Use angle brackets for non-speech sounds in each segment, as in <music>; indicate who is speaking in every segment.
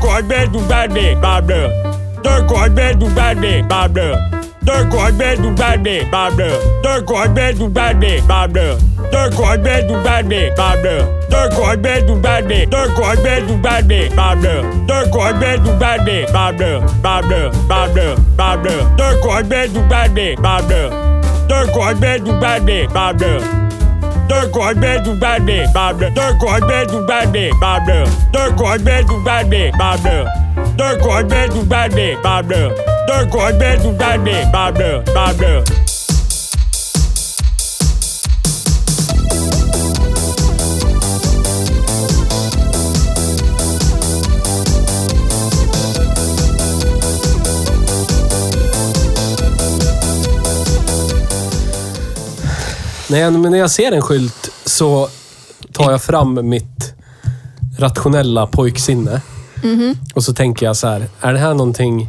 Speaker 1: corbeilles du badé, babble. Deux corbeilles du badé, babble. Deux corbeilles du badé, babble. Deux corbeilles du badé, babble. Deux corbeilles du badé, babble. Deux corbeilles du badé, deux corbeilles du badé, babble. Deux corbeilles du badé, babble, babble, babble, babble. Deux corbeilles du badé, babble. Deux corbeilles du badé, babble. Deux corbeilles du badé, babble. Deux corbeilles du badé, babble. Deux corbeilles du badé, babble. Deux corbeilles du badé, babble. Deux corbeilles du badé, babble, babble.
Speaker 2: När jag, men när jag ser en skylt så tar jag fram mitt rationella pojksinne. Och så tänker jag så här, är det här någonting...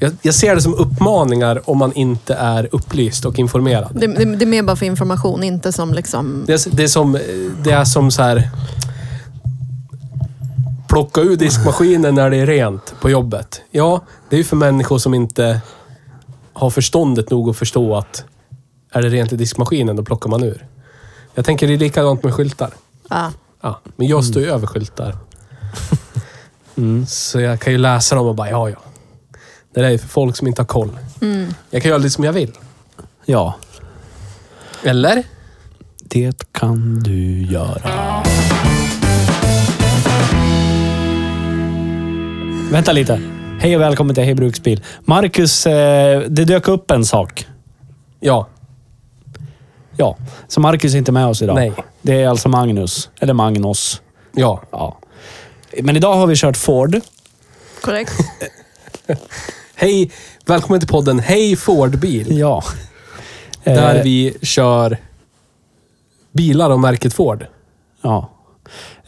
Speaker 2: Jag, jag ser det som uppmaningar om man inte är upplyst och informerad.
Speaker 3: Det, det, det är mer bara för information, inte som liksom...
Speaker 2: Det är, det är, som, eh, det är som så här... Plocka ur diskmaskinen när det är rent på jobbet. Ja, det är ju för människor som inte har förståndet nog att förstå att är det rent i diskmaskinen, då plockar man ur. Jag tänker det är likadant med skyltar.
Speaker 3: Ja.
Speaker 2: Ja, men jag står ju över skyltar. Så jag kan ju läsa dem och bara, ja, ja. Det där är ju för folk som inte har koll. Jag kan göra lite som jag vill.
Speaker 4: Ja,
Speaker 2: Eller?
Speaker 4: det kan du göra. Vänta lite. Hej och välkommen till Hej Bruksbil. Marcus, eh, det dök upp en sak.
Speaker 2: Ja.
Speaker 4: Ja, så Marcus är inte med oss idag.
Speaker 2: Nej.
Speaker 4: Det är alltså Magnus, eller Magnus.
Speaker 2: Ja.
Speaker 4: Ja. Men idag har vi kört Ford. <laughs>
Speaker 3: Korrekt?
Speaker 2: Hej, välkommen till podden Hej Fordbil.
Speaker 4: Ja.
Speaker 2: Där
Speaker 4: Eh,
Speaker 2: vi kör bilar av märket Ford.
Speaker 4: Ja.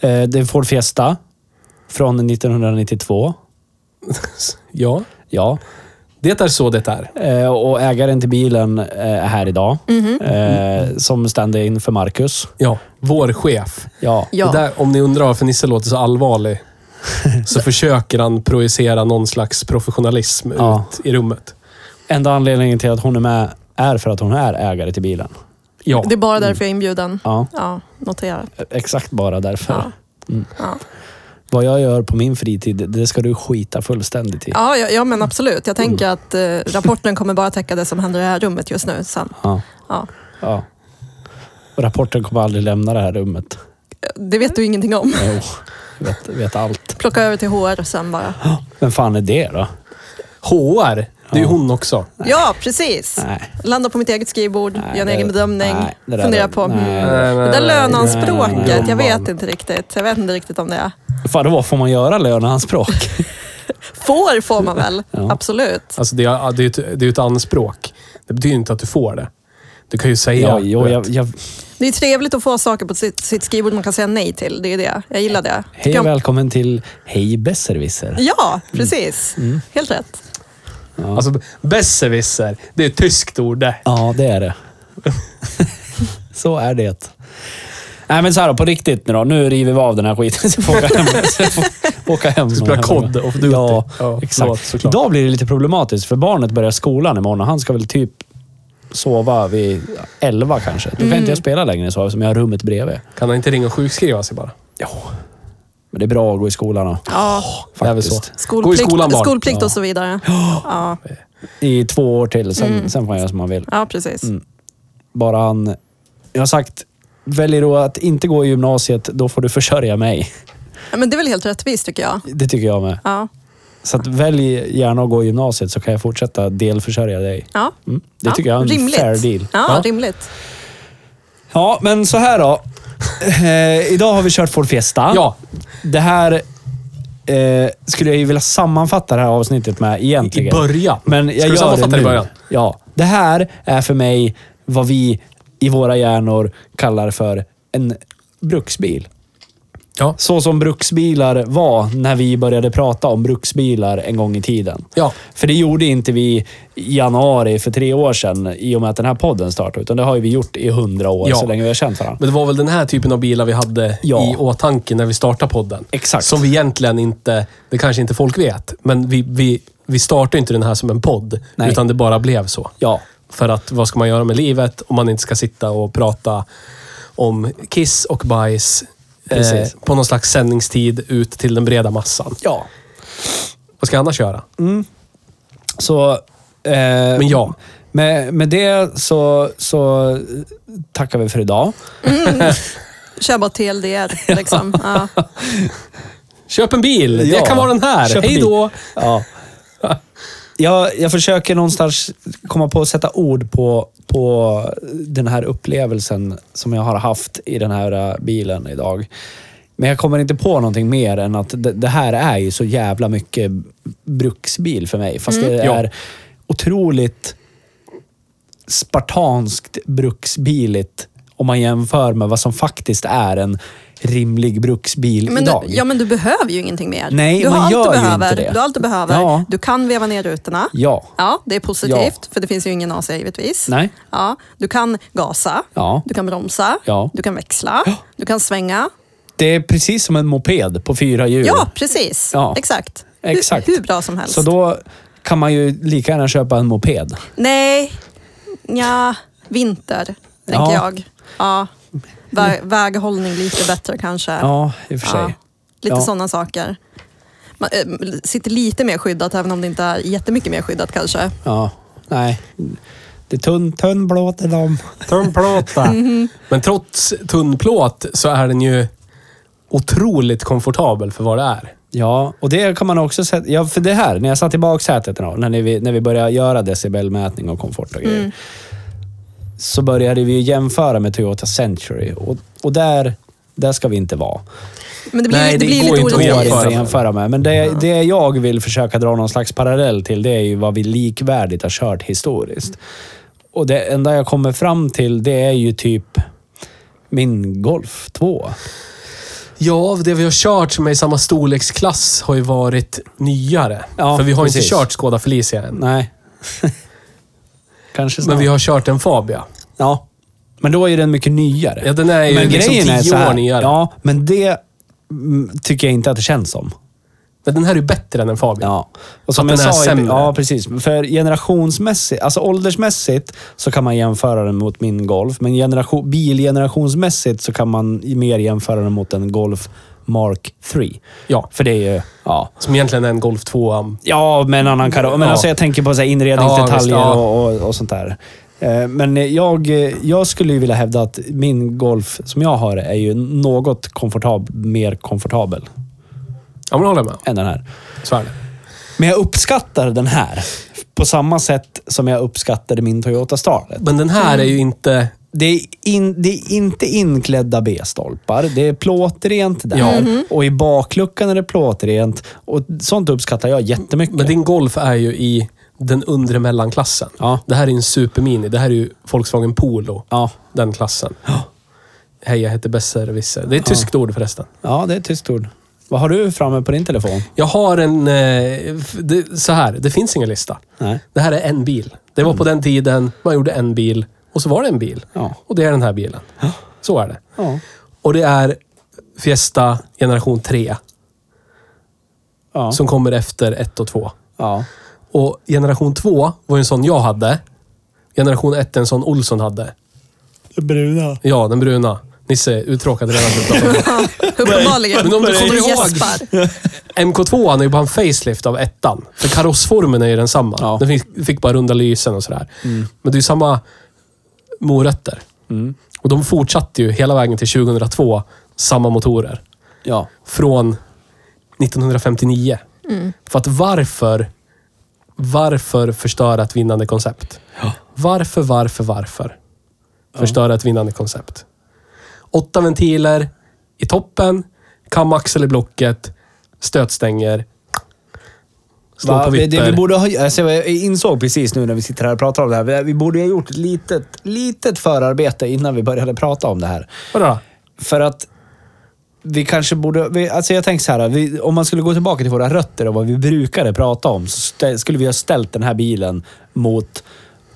Speaker 4: Eh, Det är Ford Fiesta från 1992.
Speaker 2: Ja,
Speaker 4: <laughs> Ja.
Speaker 2: det är så det är.
Speaker 4: Eh, Och ägaren till bilen eh, är här idag.
Speaker 3: Mhm.
Speaker 4: Eh, Som stand-in för Marcus.
Speaker 2: Ja, vår chef.
Speaker 4: Ja.
Speaker 3: Ja.
Speaker 2: Det där, om ni undrar varför Nisse låter så
Speaker 4: <laughs>
Speaker 2: allvarlig, så försöker han projicera någon slags professionalism
Speaker 4: Ja.
Speaker 2: ut i rummet.
Speaker 4: Enda anledningen till att hon är med är för att hon är ägare till bilen.
Speaker 2: Ja,
Speaker 3: Det är bara därför jag är
Speaker 4: Mm.
Speaker 3: inbjuden.
Speaker 4: Ja.
Speaker 3: Ja, notera.
Speaker 4: Exakt bara därför.
Speaker 3: Ja. Ja.
Speaker 4: Vad jag gör på min fritid, det ska du skita fullständigt i.
Speaker 3: Ja, ja, ja, men absolut. Jag tänker att eh, rapporten kommer bara täcka det som händer i det här rummet just nu. Sen.
Speaker 4: Ja.
Speaker 3: Ja.
Speaker 4: Ja. Och rapporten kommer aldrig lämna det här rummet.
Speaker 3: Det vet du ingenting om. <laughs>
Speaker 4: Jo, jag vet, vet allt.
Speaker 3: Plocka över till HR sen bara.
Speaker 4: Vem fan är det då?
Speaker 2: HR, det är ju hon också.
Speaker 3: Ja, precis.
Speaker 4: Nej.
Speaker 3: Landa på mitt eget skrivbord, göra en
Speaker 4: det-
Speaker 3: egen bedömning,
Speaker 4: nej, det där-
Speaker 3: fundera på...
Speaker 4: nej,
Speaker 3: mm.
Speaker 4: det-
Speaker 2: Eh,
Speaker 3: Det där
Speaker 4: nej,
Speaker 3: lönanspråket, jag vet
Speaker 2: inte.
Speaker 3: inte riktigt. Jag vet inte riktigt om det är.
Speaker 4: Fan, då får man göra löneanspråk?
Speaker 3: Får får man väl,
Speaker 4: Ja.
Speaker 3: absolut.
Speaker 2: Alltså det, är, det, är ett, det är ett anspråk. Det betyder inte att du får det. Du kan ju säga...
Speaker 4: Ja, jo,
Speaker 2: vet.
Speaker 4: jag, jag,
Speaker 3: Det är trevligt att få saker på sitt, sitt skrivbord man kan säga nej till. Det är det. Jag gillar det. Tycker
Speaker 4: hej och
Speaker 3: jag-
Speaker 4: välkommen till Hej Besserwisser.
Speaker 3: Ja, precis.
Speaker 4: Mm.
Speaker 3: Helt rätt.
Speaker 2: Alltså, besserwisser, det är ett tyskt ord det.
Speaker 4: Ja,
Speaker 2: <laughs>
Speaker 4: det är det. så är det. Nej men så här då, på riktigt nu då. Nu river vi av den här skiten så får vi åka hem. Så får vi åka hem
Speaker 2: Ska spela COD of Duty.
Speaker 4: Ja,
Speaker 2: Ja, förlåt,
Speaker 4: exakt.
Speaker 2: såklart.
Speaker 4: Idag blir det lite problematiskt för barnet börjar skolan imorgon och han ska väl typ sova vid elva kanske. Då kan
Speaker 2: Mm.
Speaker 4: inte jag spela längre så eftersom jag har rummet bredvid.
Speaker 2: Kan han inte ringa och sjukskriva sig bara?
Speaker 4: Ja. Men det är bra att gå i skolan då.
Speaker 3: Ja.
Speaker 2: Det är väl så.
Speaker 4: Faktiskt.
Speaker 2: Gå i
Speaker 3: Skolplikt,
Speaker 2: skolan barn.
Speaker 3: skolplikt och så vidare. Ja,
Speaker 4: I två år till, sen,
Speaker 2: Mm.
Speaker 4: sen får han göra som han vill.
Speaker 3: ja precis.
Speaker 4: Mm. Bara han... Jag har sagt, väljer du att inte gå i gymnasiet, då får du försörja mig.
Speaker 3: Ja, Men det är väl helt rättvist tycker jag.
Speaker 4: Det tycker jag med.
Speaker 3: Ja,
Speaker 4: Så att välj gärna att gå i gymnasiet så kan jag fortsätta delförsörja dig.
Speaker 3: ja.
Speaker 4: Mm. Det
Speaker 3: ja.
Speaker 4: tycker jag är en
Speaker 3: rimligt.
Speaker 4: fair deal.
Speaker 3: Ja,
Speaker 4: Ja.
Speaker 3: rimligt.
Speaker 4: Ja, men så här då. Eh, idag har vi kört Ford Fiesta.
Speaker 2: Ja.
Speaker 4: Det här eh, skulle jag ju vilja sammanfatta det här avsnittet med egentligen.
Speaker 2: I början.
Speaker 4: Men jag
Speaker 2: Ska vi
Speaker 4: gör det
Speaker 2: sammanfatta
Speaker 4: nu.
Speaker 2: det i början?
Speaker 4: Ja. Det här är för mig vad vi i våra hjärnor kallar för en bruksbil.
Speaker 2: Ja.
Speaker 4: Så som bruksbilar var när vi började prata om bruksbilar en gång i tiden.
Speaker 2: Ja.
Speaker 4: För det gjorde inte vi i januari för tre år sedan i och med att den här podden startade. Utan det har ju vi gjort i hundra år,
Speaker 2: Ja.
Speaker 4: så länge vi har känt varandra.
Speaker 2: Men det var väl den här typen av bilar vi hade
Speaker 4: Ja.
Speaker 2: i åtanke när vi startade podden.
Speaker 4: Exakt.
Speaker 2: Som vi egentligen inte, det kanske inte folk vet, men vi, vi, vi startade inte den här som en podd.
Speaker 4: Nej.
Speaker 2: Utan det bara blev så.
Speaker 4: Ja.
Speaker 2: För att vad ska man göra med livet om man inte ska sitta och prata om kiss och bajs eh,
Speaker 4: Precis.
Speaker 2: på någon slags sändningstid ut till den breda massan.
Speaker 4: Ja.
Speaker 2: Vad ska jag annars göra?
Speaker 4: Så... Eh,
Speaker 2: Men ja,
Speaker 4: Med, med det så, så tackar vi för idag.
Speaker 3: Kör bara
Speaker 4: <laughs>
Speaker 3: TLDR liksom. Ja.
Speaker 2: köp en bil!
Speaker 4: Ja.
Speaker 2: Det kan vara den här.
Speaker 4: Köp en
Speaker 2: Hej
Speaker 4: bil.
Speaker 2: då!
Speaker 4: Ja. Jag, jag försöker någonstans komma på att sätta ord på, på den här upplevelsen som jag har haft i den här eh, bilen idag. Men jag kommer inte på någonting mer än att det, det här är ju så jävla mycket bruksbil för mig. Fast det
Speaker 2: Mm. Ja.
Speaker 4: är otroligt spartanskt bruksbiligt om man jämför med vad som faktiskt är en rimlig bruksbil
Speaker 3: Men du,
Speaker 4: idag.
Speaker 3: ja, men du behöver ju ingenting mer.
Speaker 4: Nej,
Speaker 3: du
Speaker 4: man
Speaker 3: allt
Speaker 4: gör
Speaker 3: du
Speaker 4: ju
Speaker 3: behöver.
Speaker 4: inte det.
Speaker 3: Du har allt du behöver.
Speaker 4: Ja.
Speaker 3: Du kan veva ner rutorna.
Speaker 4: ja.
Speaker 3: Ja, det är positivt, för det finns ju ingen AC givetvis.
Speaker 4: Nej.
Speaker 3: Ja, du kan gasa,
Speaker 4: Ja.
Speaker 3: du kan bromsa,
Speaker 4: Ja.
Speaker 3: du kan växla, du kan svänga.
Speaker 4: Det är precis som en moped på fyra hjul.
Speaker 3: Ja, precis.
Speaker 4: Ja.
Speaker 3: Exakt. Hu-
Speaker 4: Exakt.
Speaker 3: Hur bra som helst.
Speaker 4: Så då kan man ju lika gärna köpa en moped.
Speaker 3: Nej, ja, vinter, tänker jag. Ja. Vä- väghållning lite bättre kanske.
Speaker 4: Ja, i och för sig.
Speaker 3: Ja, Lite
Speaker 4: Ja.
Speaker 3: sådana saker. Man eh, sitter lite mer skyddat, även om det inte är jättemycket mer skyddat kanske.
Speaker 4: Ja. Nej. Det är tunn, tunn plåt i dem.
Speaker 2: Tunnplåta. Men trots tunn plåt så är den ju otroligt komfortabel för vad det är.
Speaker 4: Ja, och det kan man också sätta... Ja, för det här, när jag satt i baksätet då, när vi, när vi började göra decibelmätning och komfort och grejer. Så började vi jämföra med Toyota Century och, och där, där ska vi inte vara.
Speaker 3: Men det blir,
Speaker 2: Nej, det
Speaker 3: det blir
Speaker 2: går
Speaker 3: lite
Speaker 2: inte att
Speaker 4: går
Speaker 3: orättvist.
Speaker 4: inte att
Speaker 2: jämföra.
Speaker 4: jämföra med. Men det, det jag vill försöka dra någon slags parallell till, det är ju vad vi likvärdigt har kört historiskt. Och det enda jag kommer fram till, det är ju typ min Golf 2.
Speaker 2: Ja, det vi har kört som är i samma storleksklass har ju varit nyare.
Speaker 4: Ja,
Speaker 2: för vi har
Speaker 4: precis.
Speaker 2: inte kört Skoda Felicia än.
Speaker 4: Nej. <laughs> Kanske snart.
Speaker 2: Men vi har kört en Fabia.
Speaker 4: Ja. Men då är den mycket nyare.
Speaker 2: Ja, den är ju
Speaker 4: men
Speaker 2: liksom
Speaker 4: grejen är
Speaker 2: tio
Speaker 4: så här,
Speaker 2: år nyare.
Speaker 4: Ja, men det mm, tycker jag inte att det känns som.
Speaker 2: Men den här är ju bättre än en Fabia.
Speaker 4: Ja. Och som
Speaker 2: Att
Speaker 4: jag
Speaker 2: den är
Speaker 4: sa, i-
Speaker 2: sämre.
Speaker 4: Ja, precis. För generationsmässigt, alltså åldersmässigt, så kan man jämföra den mot min Golf. Men generation, bilgenerationsmässigt så kan man mer jämföra den mot en Golf Mark 3.
Speaker 2: Ja.
Speaker 4: För det är ju... Ja.
Speaker 2: Som egentligen är en Golf 2.
Speaker 4: Ja, med en annan karo. Men
Speaker 2: Ja.
Speaker 4: alltså jag tänker på så här inredningsdetaljer
Speaker 2: Ja, visst, ja.
Speaker 4: och, och, och sånt där. Eh, Men jag, jag skulle ju vilja hävda att min Golf som jag har är ju något komfortab mer komfortabel
Speaker 2: Ja, men det håller jag med om.
Speaker 4: än den här.
Speaker 2: Så är det.
Speaker 4: Men jag uppskattar den här på samma sätt som jag uppskattade min Toyota Starlet.
Speaker 2: Men den här
Speaker 4: Mm.
Speaker 2: är ju inte...
Speaker 4: Det är, in, det är inte inklädda B-stolpar. Det är plåtrent där.
Speaker 2: Ja. Mhm.
Speaker 4: Och i bakluckan är det plåtrent. Och sånt uppskattar jag jättemycket.
Speaker 2: Men din Golf är ju i den undre mellanklassen.
Speaker 4: Ja.
Speaker 2: Det här är ju en supermini. Det här är ju Volkswagen Polo.
Speaker 4: Ja.
Speaker 2: Den klassen. Hej, jag heter Besserwisser. Det är ett tyskt ord förresten.
Speaker 4: ja, det är ett tyskt ord. Vad har du framme på din telefon?
Speaker 2: Jag har en... Eh, f- det, så här, det finns ingen lista.
Speaker 4: Nej. Mm.
Speaker 2: Det här är en bil. Det var på den tiden man gjorde en bil och så var det en bil.
Speaker 4: Ja.
Speaker 2: Och det är den här bilen. Så är det.
Speaker 4: Ja.
Speaker 2: Och det är Fiesta generation 3
Speaker 4: Ja.
Speaker 2: som kommer efter 1 och 2.
Speaker 4: ja.
Speaker 2: Och generation 2 var ju en sån jag hade. Generation 1 en sån Olsson hade.
Speaker 4: Bruna.
Speaker 2: Ja, den bruna. Nisse är uttråkad redan. för att prata om det.
Speaker 3: Ja, uppenbarligen.
Speaker 2: Men om du kommer
Speaker 3: Så
Speaker 2: ihåg-
Speaker 3: gäspar.
Speaker 2: MK2 är ju bara en facelift av ettan. För karossformen är ju densamma.
Speaker 4: Ja.
Speaker 2: Den fick, fick bara runda lysen och sådär. Men det är ju samma morötter. Och de fortsatte ju hela vägen till 2002, samma motorer.
Speaker 4: Ja.
Speaker 2: Från 1959. För att varför, varför förstöra ett vinnande koncept? Varför, varför, varför förstöra ett vinnande koncept? Åtta ventiler i toppen, kamaxel i blocket, stötstänger, slå
Speaker 4: Va,
Speaker 2: på
Speaker 4: det, det
Speaker 2: vipper.
Speaker 4: vi borde ha, alltså jag insåg precis nu när vi sitter här och pratar om det här. Vi- Vi borde ha gjort ett litet, litet förarbete innan vi började prata om det här.
Speaker 2: Vadå då?
Speaker 4: För att vi kanske borde... Vi, alltså jag tänker så här, vi, om man skulle gå tillbaka till våra rötter och vad vi brukade prata om, så stä- skulle vi ha ställt den här bilen mot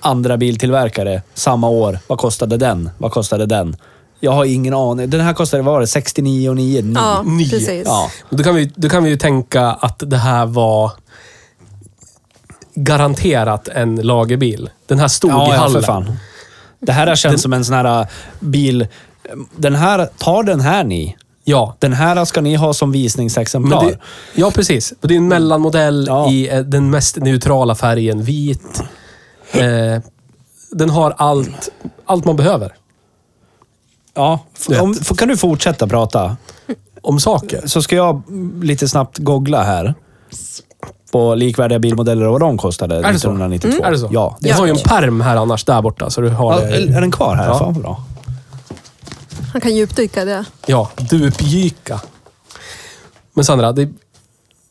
Speaker 4: andra biltillverkare samma år. Vad kostade den? Vad kostade den? Jag har ingen aning. Den här kostade, vad var det? 69 9
Speaker 3: Ja,
Speaker 2: Nio.
Speaker 3: precis.
Speaker 4: Ja.
Speaker 2: Då kan, vi, då kan vi ju tänka att det här var garanterat en lagerbil. Den här stod i hallen.
Speaker 4: Det här har känts som en sån här äh, bil... Den här, ta den här ni.
Speaker 2: Ja.
Speaker 4: Den här ska ni ha som visningsexemplar.
Speaker 2: Men det, ja, precis. Och det är en mellanmodell
Speaker 4: Mm. Ja.
Speaker 2: i eh, den mest neutrala färgen, vit. Eh, den har allt, allt man behöver.
Speaker 4: Ja,
Speaker 2: Rätt.
Speaker 4: om, f- kan du fortsätta prata?
Speaker 2: Om saker.
Speaker 4: Så ska jag mm, lite snabbt googla här. På likvärdiga bilmodeller och vad de kostade
Speaker 2: det så? Mm,
Speaker 4: 1992.
Speaker 2: Är det så?
Speaker 4: Ja.
Speaker 2: Vi har ju en perm här annars, där borta. Så du har eh,
Speaker 4: Ja,
Speaker 2: det.
Speaker 4: är den kvar här?
Speaker 2: Ja.
Speaker 4: Fan vad bra.
Speaker 3: Han kan djupdyka i det.
Speaker 2: Ja, dupjyka. Men Sandra, det,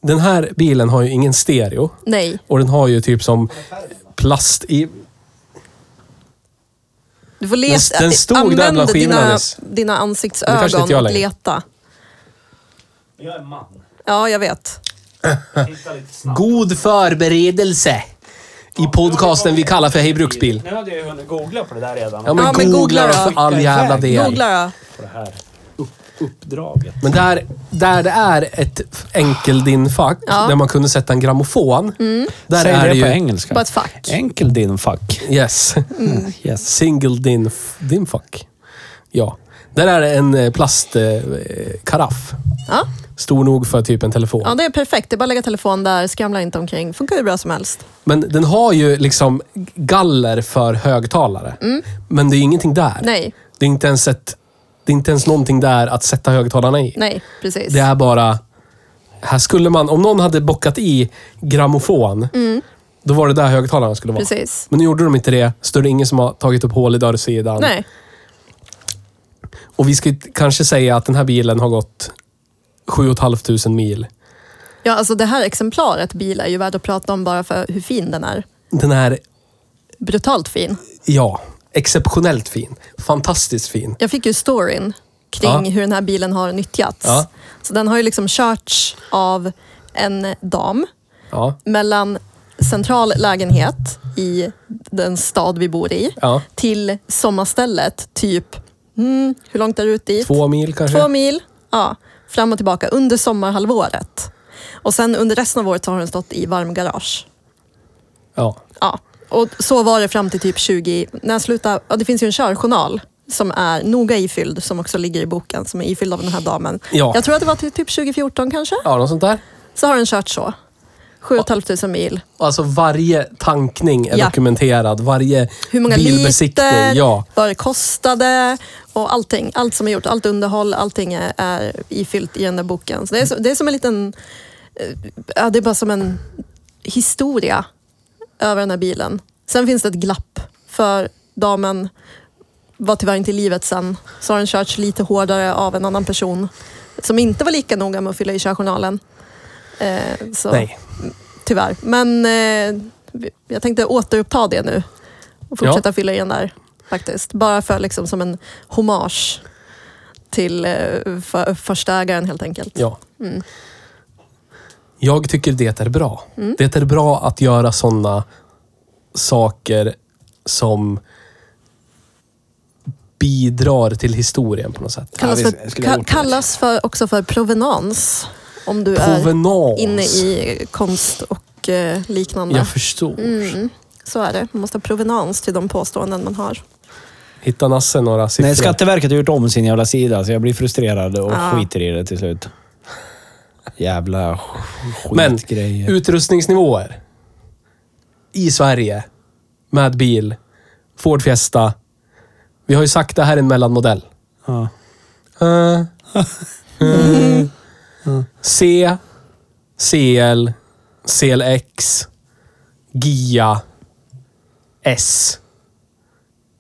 Speaker 2: den här bilen har ju ingen stereo.
Speaker 3: Nej,
Speaker 2: Och den har ju typ som plast i...
Speaker 3: du får leta.
Speaker 2: Den- den stod där bland
Speaker 3: Använd
Speaker 2: skivorna
Speaker 3: dina,
Speaker 2: nyss.
Speaker 3: dina
Speaker 2: Men det kanske
Speaker 3: ansiktsögon
Speaker 2: inte jag
Speaker 3: och
Speaker 2: längre.
Speaker 3: leta.
Speaker 4: Jag är man.
Speaker 3: Ja, jag vet.
Speaker 2: God förberedelse i podcasten vi kallar för Hej Bruksbil.
Speaker 4: Nu hade jag ju hunnit googla på det där redan.
Speaker 2: Ja men,
Speaker 3: Ja, men
Speaker 2: googla
Speaker 3: googla
Speaker 2: då
Speaker 3: då.
Speaker 2: för all jävla del.
Speaker 3: Googla då.
Speaker 4: På det här uppdraget.
Speaker 2: Men där, där det är ett enkeldinfack,
Speaker 3: Ja. Mm.
Speaker 2: där man kunde sätta en grammofon. Där
Speaker 4: Säg
Speaker 2: är
Speaker 4: det
Speaker 2: det
Speaker 4: på
Speaker 2: ju...
Speaker 4: engelska.
Speaker 3: På ett fack.
Speaker 4: Enkel din fuck.
Speaker 2: Yes.
Speaker 3: Mm.
Speaker 4: <laughs> Yes.
Speaker 2: Single din, dinfack. Ja. Där är det en plastkaraff.
Speaker 3: Ja.
Speaker 2: Stor nog för typ en telefon.
Speaker 3: ja, det är perfekt. Det är bara att lägga telefon där, skramla inte omkring. Funkar hur bra som helst.
Speaker 2: Men den har ju liksom galler för högtalare. Men det är ju ingenting där.
Speaker 3: Mm. Nej,
Speaker 2: Det är inte ens ett... Det är inte ens någonting där att sätta högtalarna i.
Speaker 3: nej, precis.
Speaker 2: Det är bara... Här skulle man... Om någon hade bockat i grammofon, då var det där högtalarna skulle vara.
Speaker 3: Precis.
Speaker 2: Men nu gjorde de inte det, så då är det ingen som har tagit upp hål i dörrsidan.
Speaker 3: Nej,
Speaker 2: Och vi ska ju t- kanske säga att den här bilen har gått 7 500 mil.
Speaker 3: ja, alltså det här exemplaret bil är ju värd att prata om bara för hur fin den är.
Speaker 2: Den är,
Speaker 3: Brutalt fin.
Speaker 2: ja, exceptionellt fin. Fantastiskt fin.
Speaker 3: Jag fick ju storyn kring
Speaker 2: Ja.
Speaker 3: hur den här bilen har nyttjats.
Speaker 2: Ja.
Speaker 3: Så den har ju liksom körts av en dam
Speaker 2: Ja.
Speaker 3: mellan central lägenhet i den stad vi bor i
Speaker 2: Ja.
Speaker 3: till sommarstället, typ, mm, hur långt är det ut dit?
Speaker 2: Två mil kanske?
Speaker 3: Två mil, ja, fram och tillbaka under sommarhalvåret. Och sen under resten av året så har den stått i varmgarage.
Speaker 2: Ja.
Speaker 3: Ja, och så var det fram till typ 20... När jag slutade, ja, det finns ju en körjournal som är noga ifylld, som också ligger i boken, som är ifylld av den här damen.
Speaker 2: Ja.
Speaker 3: Jag tror att det var till typ 2014 kanske,
Speaker 2: ja, något sånt där.
Speaker 3: så har den kört så. 7 500 mil.
Speaker 2: Och Alltså varje tankning är
Speaker 3: Ja.
Speaker 2: dokumenterad. Varje
Speaker 3: Hur många
Speaker 2: bilbesiktning.
Speaker 3: liter,
Speaker 2: Ja.
Speaker 3: vad det kostade och allting. Allt som är gjort, allt underhåll, allting är, är ifyllt i den där boken. Så det, är så, det är som en liten... eh, Ja, det är bara som en historia över den här bilen. Sen finns det ett glapp, för damen var tyvärr inte i livet sen. Så har den körts lite hårdare av en annan person som inte var lika noga med att fylla i körjournalen. Eh, så
Speaker 2: Nej.
Speaker 3: tyvärr. Men eh, vi- jag tänkte återuppta det nu och fortsätta fylla i den där faktiskt. Bara för liksom som en hommage till eh, för, första ägaren helt enkelt.
Speaker 2: Ja.
Speaker 3: Mm.
Speaker 2: Jag tycker det är bra.
Speaker 3: Mm.
Speaker 2: Det är bra att göra sådana saker som bidrar till historien på något sätt.
Speaker 3: Kallas,
Speaker 4: Ja, vi
Speaker 3: för,
Speaker 4: skulle ha gjort
Speaker 3: ka,
Speaker 4: det.
Speaker 3: kallas för, också för provenans. Om du
Speaker 2: Provenans.
Speaker 3: är inne i konst och eh, liknande.
Speaker 2: Jag förstår.
Speaker 3: Mm. Så är det. Man måste ha provenans till de påståenden man har.
Speaker 2: Hittar Nasse några siffror?
Speaker 4: Nej, Skatteverket har gjort om sin jävla sida, så jag blir frustrerad och
Speaker 3: Ja.
Speaker 4: skiter i det till slut. Jävla sk-
Speaker 2: Men
Speaker 4: skitgrejer.
Speaker 2: utrustningsnivåer i Sverige med bil, Ford Fiesta. Vi har ju sagt det här är en mellanmodell.
Speaker 4: Ja. <laughs>
Speaker 2: Eh, eh, C, CL, CLX, GIA, S,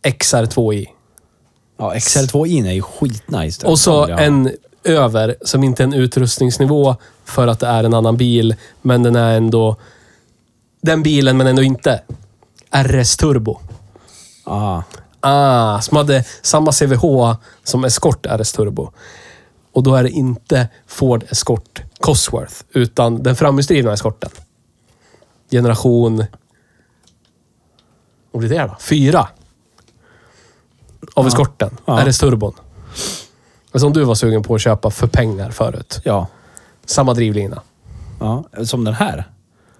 Speaker 2: XR2i.
Speaker 4: Ja, XL2 in är ju skitnice. Den
Speaker 2: Och så
Speaker 4: kommer jag-
Speaker 2: en över, som inte är en utrustningsnivå för att det är en annan bil, men den är ändå... Den bilen, men ändå inte. RS Turbo.
Speaker 4: Ja.
Speaker 2: Ah, som hade samma CVH som Escort RS Turbo. Och då är det inte Ford Escort Cosworth, utan den framhjulsdrivna Escorten. Generation... Vad blir det då? Fyra. Av Escorten.
Speaker 4: Ja.
Speaker 2: RS Turbon. Som du var sugen på att köpa för pengar förut.
Speaker 4: Ja.
Speaker 2: Samma drivlina.
Speaker 4: ja. Som den här?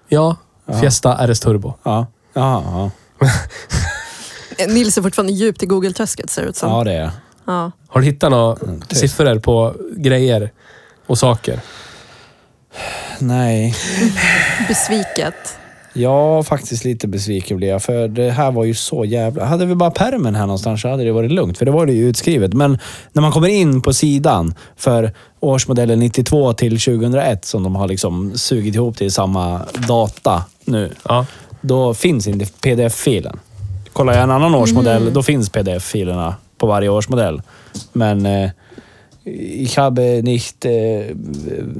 Speaker 2: Ja, Fiesta RS Turbo.
Speaker 4: Ja. Ja, ja.
Speaker 3: Eh, Nils är fortfarande djupt i Google-träsket ser det ut som.
Speaker 4: ja det är jag.
Speaker 3: Ja.
Speaker 2: Har du hittat några
Speaker 4: typ.
Speaker 2: siffror på grejer och saker?
Speaker 4: Nej.
Speaker 3: Besviket.
Speaker 4: Ja, faktiskt lite besviken blev jag. För det här var ju så jävla... Hade vi bara permen här någonstans så hade det varit lugnt. För det var det ju utskrivet. Men när man kommer in på sidan för årsmodellen 92 till 2001 som de har liksom sugit ihop till samma data nu.
Speaker 2: Ja.
Speaker 4: Då finns inte pdf-filen. Kollar jag en annan årsmodell, då finns pdf-filerna på varje årsmodell. Men eh, ich habe nicht eh,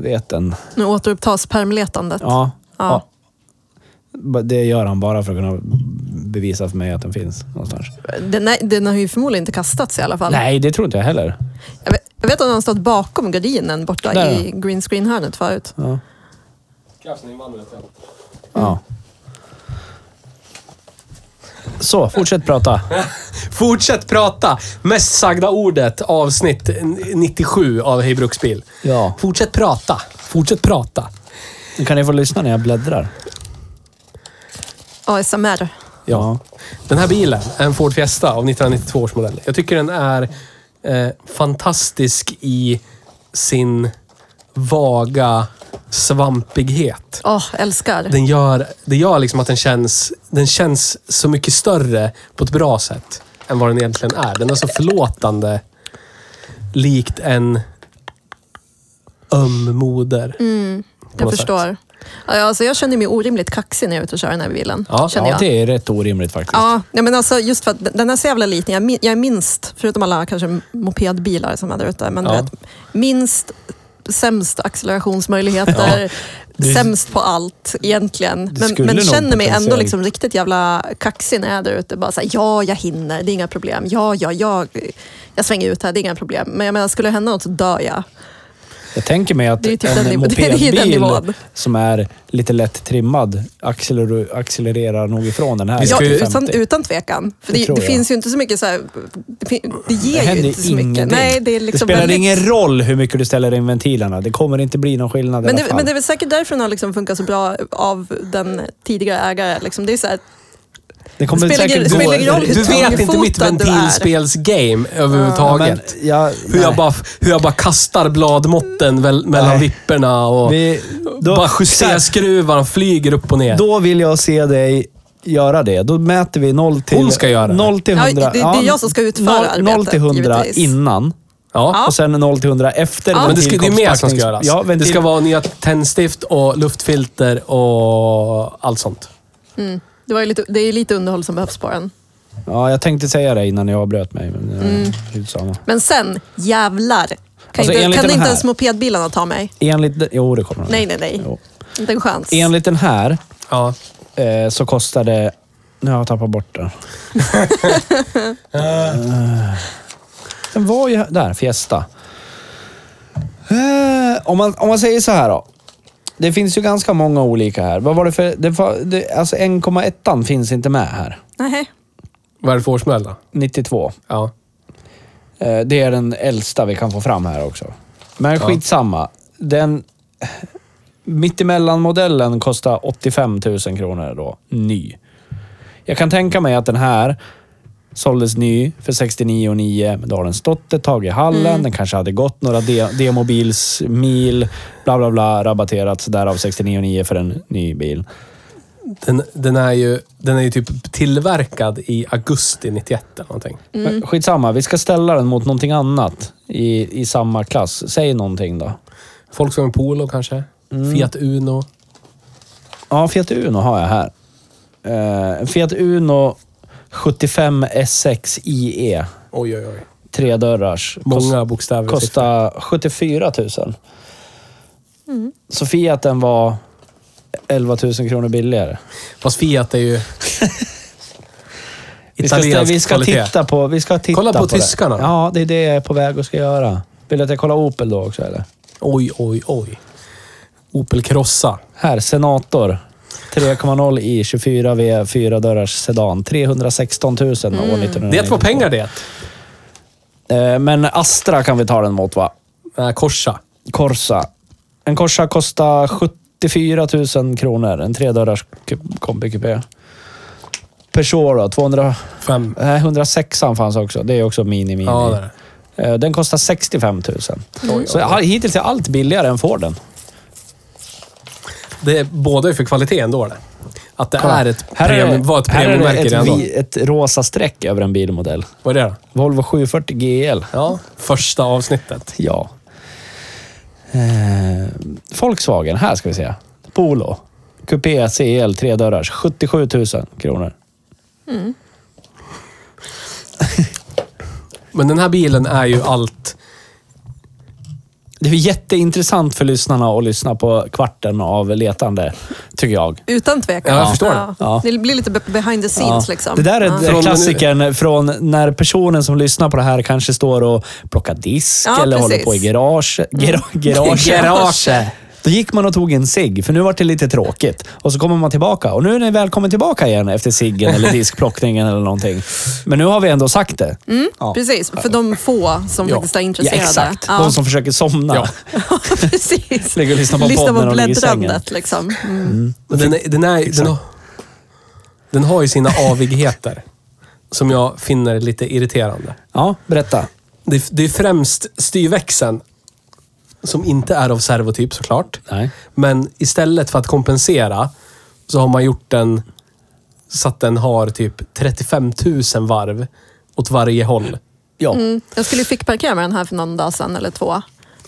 Speaker 4: veten.
Speaker 3: Nu återupptas permletandet.
Speaker 4: Ja.
Speaker 3: Ja.
Speaker 4: ja. Ba- Det gör han bara för att kunna bevisa för mig att den finns någonstans.
Speaker 3: Den, är, den har ju förmodligen inte kastats i alla fall.
Speaker 4: Nej, det tror inte jag heller.
Speaker 3: Jag, vet, jag vet att den har stått bakom gardinen borta
Speaker 4: Där,
Speaker 3: i green screen-hörnet förut.
Speaker 4: Ja. ja.
Speaker 3: Mm.
Speaker 4: Så, fortsätt prata.
Speaker 2: Fortsätt prata! Mest sagda ordet, avsnitt 97 av Hej Bruksbil.
Speaker 4: Ja.
Speaker 2: Fortsätt prata. Fortsätt prata.
Speaker 4: Nu kan ni få lyssna när jag bläddrar.
Speaker 3: ASMR.
Speaker 4: Ja.
Speaker 2: Den här bilen är en Ford Fiesta av 1992 års modell. Jag tycker den är eh, fantastisk i sin vaga svampighet.
Speaker 3: Åh, älskar.
Speaker 2: Den gör, det gör liksom att den känns, den känns så mycket större på ett bra sätt än vad den egentligen är. Den är så förlåtande. Likt en öm moder.
Speaker 3: Mm, jag
Speaker 2: något
Speaker 3: förstår. Ja, alltså jag känner mig orimligt kaxig när jag är ute och kör den här bilen.
Speaker 2: Ja,
Speaker 3: känner
Speaker 4: ja,
Speaker 3: jag.
Speaker 4: det är rätt orimligt faktiskt.
Speaker 3: Ja, nej, men alltså just för att den- den är så jävla liten. Jag, min, jag är minst, förutom alla kanske mopedbilar som är där ute, men
Speaker 2: Ja.
Speaker 3: du vet, minst, sämst accelerationsmöjligheter,
Speaker 4: Du-
Speaker 3: sämst på allt egentligen. Men,
Speaker 4: skulle
Speaker 3: men
Speaker 4: nog
Speaker 3: känner mig ändå
Speaker 4: potentiellt-
Speaker 3: liksom riktigt jävla kaxig när jag är där ute. Bara så här, ja, jag hinner, det är inga problem. Ja, ja, jag, jag svänger ut här, det är inga problem. Men jag menar, skulle det hända något så dör jag.
Speaker 4: Jag tänker mig att
Speaker 3: Det är ju typ
Speaker 4: en
Speaker 3: den nivå- <laughs> det är ju den
Speaker 4: mopedbil
Speaker 3: nivån.
Speaker 4: som är lite lätt trimmad acceler- accelererar nog ifrån den här.
Speaker 2: Vi
Speaker 3: Ja,
Speaker 2: ska ju-
Speaker 4: 50.
Speaker 3: utan, utan tvekan. För
Speaker 4: Det
Speaker 3: det, det,
Speaker 4: tror jag.
Speaker 3: finns ju inte så mycket så här, det, fin- det
Speaker 4: Det
Speaker 3: ger ju
Speaker 4: händer
Speaker 3: inte så mycket.
Speaker 4: ingenting.
Speaker 3: Nej, det, är liksom
Speaker 4: spelar
Speaker 3: väldigt-
Speaker 4: ingen roll hur mycket du ställer in ventilerna. Det kommer inte bli någon skillnad
Speaker 3: Men
Speaker 4: i
Speaker 3: det,
Speaker 4: alla fall.
Speaker 3: men det är väl säkert därför den har liksom funkat så bra av den tidigare ägaren. Liksom. Det är så här,
Speaker 4: Det kommer
Speaker 3: spelar
Speaker 4: säkert
Speaker 3: ingen-
Speaker 4: gå...
Speaker 3: spelar ingen roll hur
Speaker 2: Du vet inte mitt
Speaker 3: tungfotad du är.
Speaker 2: ventilspelsgame
Speaker 4: Ja, men
Speaker 2: överhuvudtaget.
Speaker 4: jag,
Speaker 2: Hur jag,
Speaker 4: nej.
Speaker 2: bara, hur jag bara kastar bladmåtten väl, mellan
Speaker 4: Nej.
Speaker 2: vipporna och
Speaker 4: Vi, då,
Speaker 2: bara
Speaker 4: så här,
Speaker 2: justerskruvarna flyger upp och ner.
Speaker 4: Då vill jag se dig göra det. Då mäter vi 0 till...
Speaker 2: Hon ska göra det.
Speaker 4: 0 till
Speaker 3: Ja,
Speaker 4: 100.
Speaker 3: det- det är jag som ska utföra
Speaker 4: 0 till
Speaker 3: arbetet,
Speaker 4: 100
Speaker 3: givetvis.
Speaker 4: innan.
Speaker 2: ja.
Speaker 4: Och sen 0 till 100 efter
Speaker 3: Ja.
Speaker 2: Men det, ska, det är mer som ska
Speaker 4: ventilkompaktnings-
Speaker 2: göras.
Speaker 4: Ja,
Speaker 2: det
Speaker 4: ventil-
Speaker 2: ska vara nya tändstift och luftfilter och allt sånt.
Speaker 3: det, var ju lite, det är ju lite underhåll som behövs på den.
Speaker 4: ja, jag tänkte säga det innan jag avbröt mig. Men, mm. samma.
Speaker 3: Men sen, jävlar. Kan
Speaker 4: Alltså,
Speaker 3: inte,
Speaker 4: enligt
Speaker 3: kan
Speaker 4: den
Speaker 3: inte
Speaker 4: här-
Speaker 3: ens mopedbilarna ta mig?
Speaker 4: Enligt... Jo, det kommer de.
Speaker 3: Nej, nej, nej.
Speaker 4: Jo.
Speaker 3: Inte en chans.
Speaker 4: Enligt den här
Speaker 2: Ja.
Speaker 4: eh, så kostar det... Nu har jag tappat bort den. Eh, den var ju... här- Där, Fiesta. Eh, om, man, om man säger så här då. Det finns ju ganska många olika här. Vad var det för... Det var, det, alltså 1,1 finns inte med här.
Speaker 3: Nej.
Speaker 2: Vad är det för årsmodell då?
Speaker 4: 92.
Speaker 2: Ja.
Speaker 4: Eh, Det är den äldsta vi kan få fram här också. Men
Speaker 2: Ja.
Speaker 4: skitsamma. Den mittemellan-modellen kostar 85 000 kronor då, ny. Jag kan tänka mig att den här såldes ny för 69 och 9. men Då har den stått ett tag i hallen. Den kanske hade gått några de- demobilsmil. Bla, bla, bla. Rabatterats därav 69 och 9 för en ny bil.
Speaker 2: Den, den, är ju, den är ju typ tillverkad i augusti 91 eller någonting.
Speaker 4: Men skitsamma, vi ska ställa den mot någonting annat i, i samma klass. Säg någonting då.
Speaker 2: Volkswagen Polo kanske?
Speaker 4: Mm.
Speaker 2: Fiat Uno?
Speaker 4: Ja, Fiat Uno har jag här. Eh, Fiat Uno 75 S6 IE.
Speaker 2: Oj, oj, oj.
Speaker 4: Tredörrars. E. Kost-
Speaker 2: Många bokstäver.
Speaker 4: Kostar 74 000. Så Fiaten var 11 000 kronor billigare.
Speaker 2: Fast Fiat är ju...
Speaker 4: <laughs> Vi ska,
Speaker 2: Italiensk
Speaker 4: vi ska
Speaker 2: kvalitet.
Speaker 4: titta på Vi ska titta
Speaker 2: Kolla på
Speaker 4: det.
Speaker 2: tyskarna.
Speaker 4: Ja, det är det jag är på väg och ska göra. Vill du att jag kollar Opel då också eller?
Speaker 2: Oj, oj, oj. Opel Crossa.
Speaker 4: Här, Senator. 3,0 i 24 V, 4 dörrars sedan. 316 000 år 1990.
Speaker 2: Det var pengar det.
Speaker 4: Eh, Men Astra kan vi ta den mot va?
Speaker 2: Nej, Äh, Corsa.
Speaker 4: Corsa. En Corsa kostar 74 000 kronor. En tredörrars kombi-kupé. Peugeot då, 200...
Speaker 2: Fem.
Speaker 4: Nej, 106 fanns också. Det är också mini-mini.
Speaker 2: Ja, det är det.
Speaker 4: Eh, Den kostar 65 000. Så ha- hittills är allt billigare än Forden.
Speaker 2: det är båda ju för kvalitet ändå. Det. Att det är ett
Speaker 4: Här är
Speaker 2: premium, var ett
Speaker 4: här är
Speaker 2: premiummärke
Speaker 4: det
Speaker 2: redan
Speaker 4: ett,
Speaker 2: då.
Speaker 4: vi- ett rosa streck över en bilmodell.
Speaker 2: Vad är det då?
Speaker 4: Volvo 740 GL.
Speaker 2: Ja, första avsnittet.
Speaker 4: Ja. Eh, Volkswagen, här ska vi se. Polo. Coupé CL, tre dörrars. 77 000 kronor.
Speaker 2: Men den här bilen är ju allt.
Speaker 4: Det är jätteintressant för lyssnarna att lyssna på kvarten av letande, tycker jag.
Speaker 3: Utan tvekan.
Speaker 2: Ja, jag förstår det.
Speaker 4: Ja.
Speaker 3: Det blir lite be- behind the scenes liksom.
Speaker 4: Det där är
Speaker 3: ja.
Speaker 2: Från-
Speaker 4: klassikern från när personen som lyssnar på det här kanske står och plockar disk
Speaker 3: Ja,
Speaker 4: eller håller
Speaker 3: precis. Mm.
Speaker 4: på i garage.
Speaker 3: <laughs>
Speaker 4: Gra- garage.
Speaker 2: Garage.
Speaker 4: Då gick man och tog en cigg, för nu var det lite tråkigt. Och så kommer man tillbaka. Och nu är ni välkommen tillbaka igen efter
Speaker 3: <laughs>
Speaker 4: ciggen eller diskplockningen eller någonting. Men nu har vi ändå sagt det. ja.
Speaker 3: Precis, för de få som
Speaker 2: Ja.
Speaker 3: faktiskt är
Speaker 4: Ja,
Speaker 3: Mm, intresserade.
Speaker 4: exakt.
Speaker 3: Ja.
Speaker 4: De som försöker somna.
Speaker 2: Ja.
Speaker 3: <laughs> precis.
Speaker 4: Ligger och lyssnar på
Speaker 3: Lyssna
Speaker 4: podden
Speaker 3: på
Speaker 4: och ligger i sängen.
Speaker 3: bläddrandet liksom. Mm.
Speaker 2: Men Den, är, den, är, den, har, den har ju sina avigheter. <laughs> som jag finner lite irriterande.
Speaker 4: Ja, berätta.
Speaker 2: Det, är- det är främst styrväxeln. Som inte är av servotyp såklart.
Speaker 4: Nej.
Speaker 2: Men istället för att kompensera så har man gjort den så att den har typ 35 000 varv åt varje håll.
Speaker 4: Ja.
Speaker 3: Jag skulle ju fickparkera med den här för någon dag sedan eller två.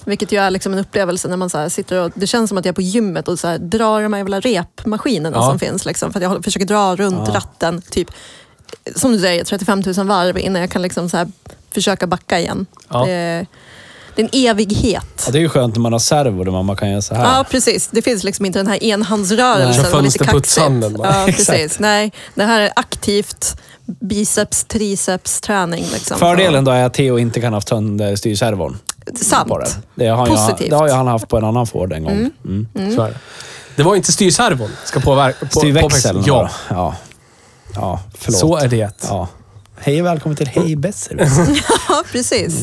Speaker 3: Vilket ju är liksom en upplevelse när man så här sitter och... Det känns som att jag är på gymmet och så här drar de här jävla repmaskinerna
Speaker 2: Ja.
Speaker 3: som finns. Liksom, för att jag håller- försöker dra runt ratten, typ, som du säger, 35 000 varv innan jag kan liksom så här försöka backa igen.
Speaker 2: Ja.
Speaker 3: Det, det är en evighet.
Speaker 4: Ja, det är ju skönt när man har servo, där man kan göra så här.
Speaker 3: Ja, precis. Det finns liksom inte den här enhandsrörelsen.
Speaker 2: Nej.
Speaker 3: som är lite
Speaker 2: Fönsterputshanden
Speaker 3: kaxigt.
Speaker 2: bara.
Speaker 3: Ja, precis.
Speaker 4: <laughs> Exakt.
Speaker 3: Nej, det här är aktivt biceps, triceps, träning. Liksom.
Speaker 4: Fördelen då är att Theo inte kan ha haft sönder styrservon.
Speaker 3: Sant.
Speaker 4: På den. Det har, jag,
Speaker 3: Positivt.
Speaker 4: det har ju han haft på en annan Ford en gång. Mm.
Speaker 2: Så är det. det var inte styrservon ska påverka. På,
Speaker 4: Styrväxeln.
Speaker 2: påverka- Ja,
Speaker 4: då. ja. Ja, förlåt.
Speaker 2: så är det.
Speaker 4: Ja. Hej och välkommen till
Speaker 2: <laughs>
Speaker 4: Hej Besser.
Speaker 3: <laughs> Ja, precis.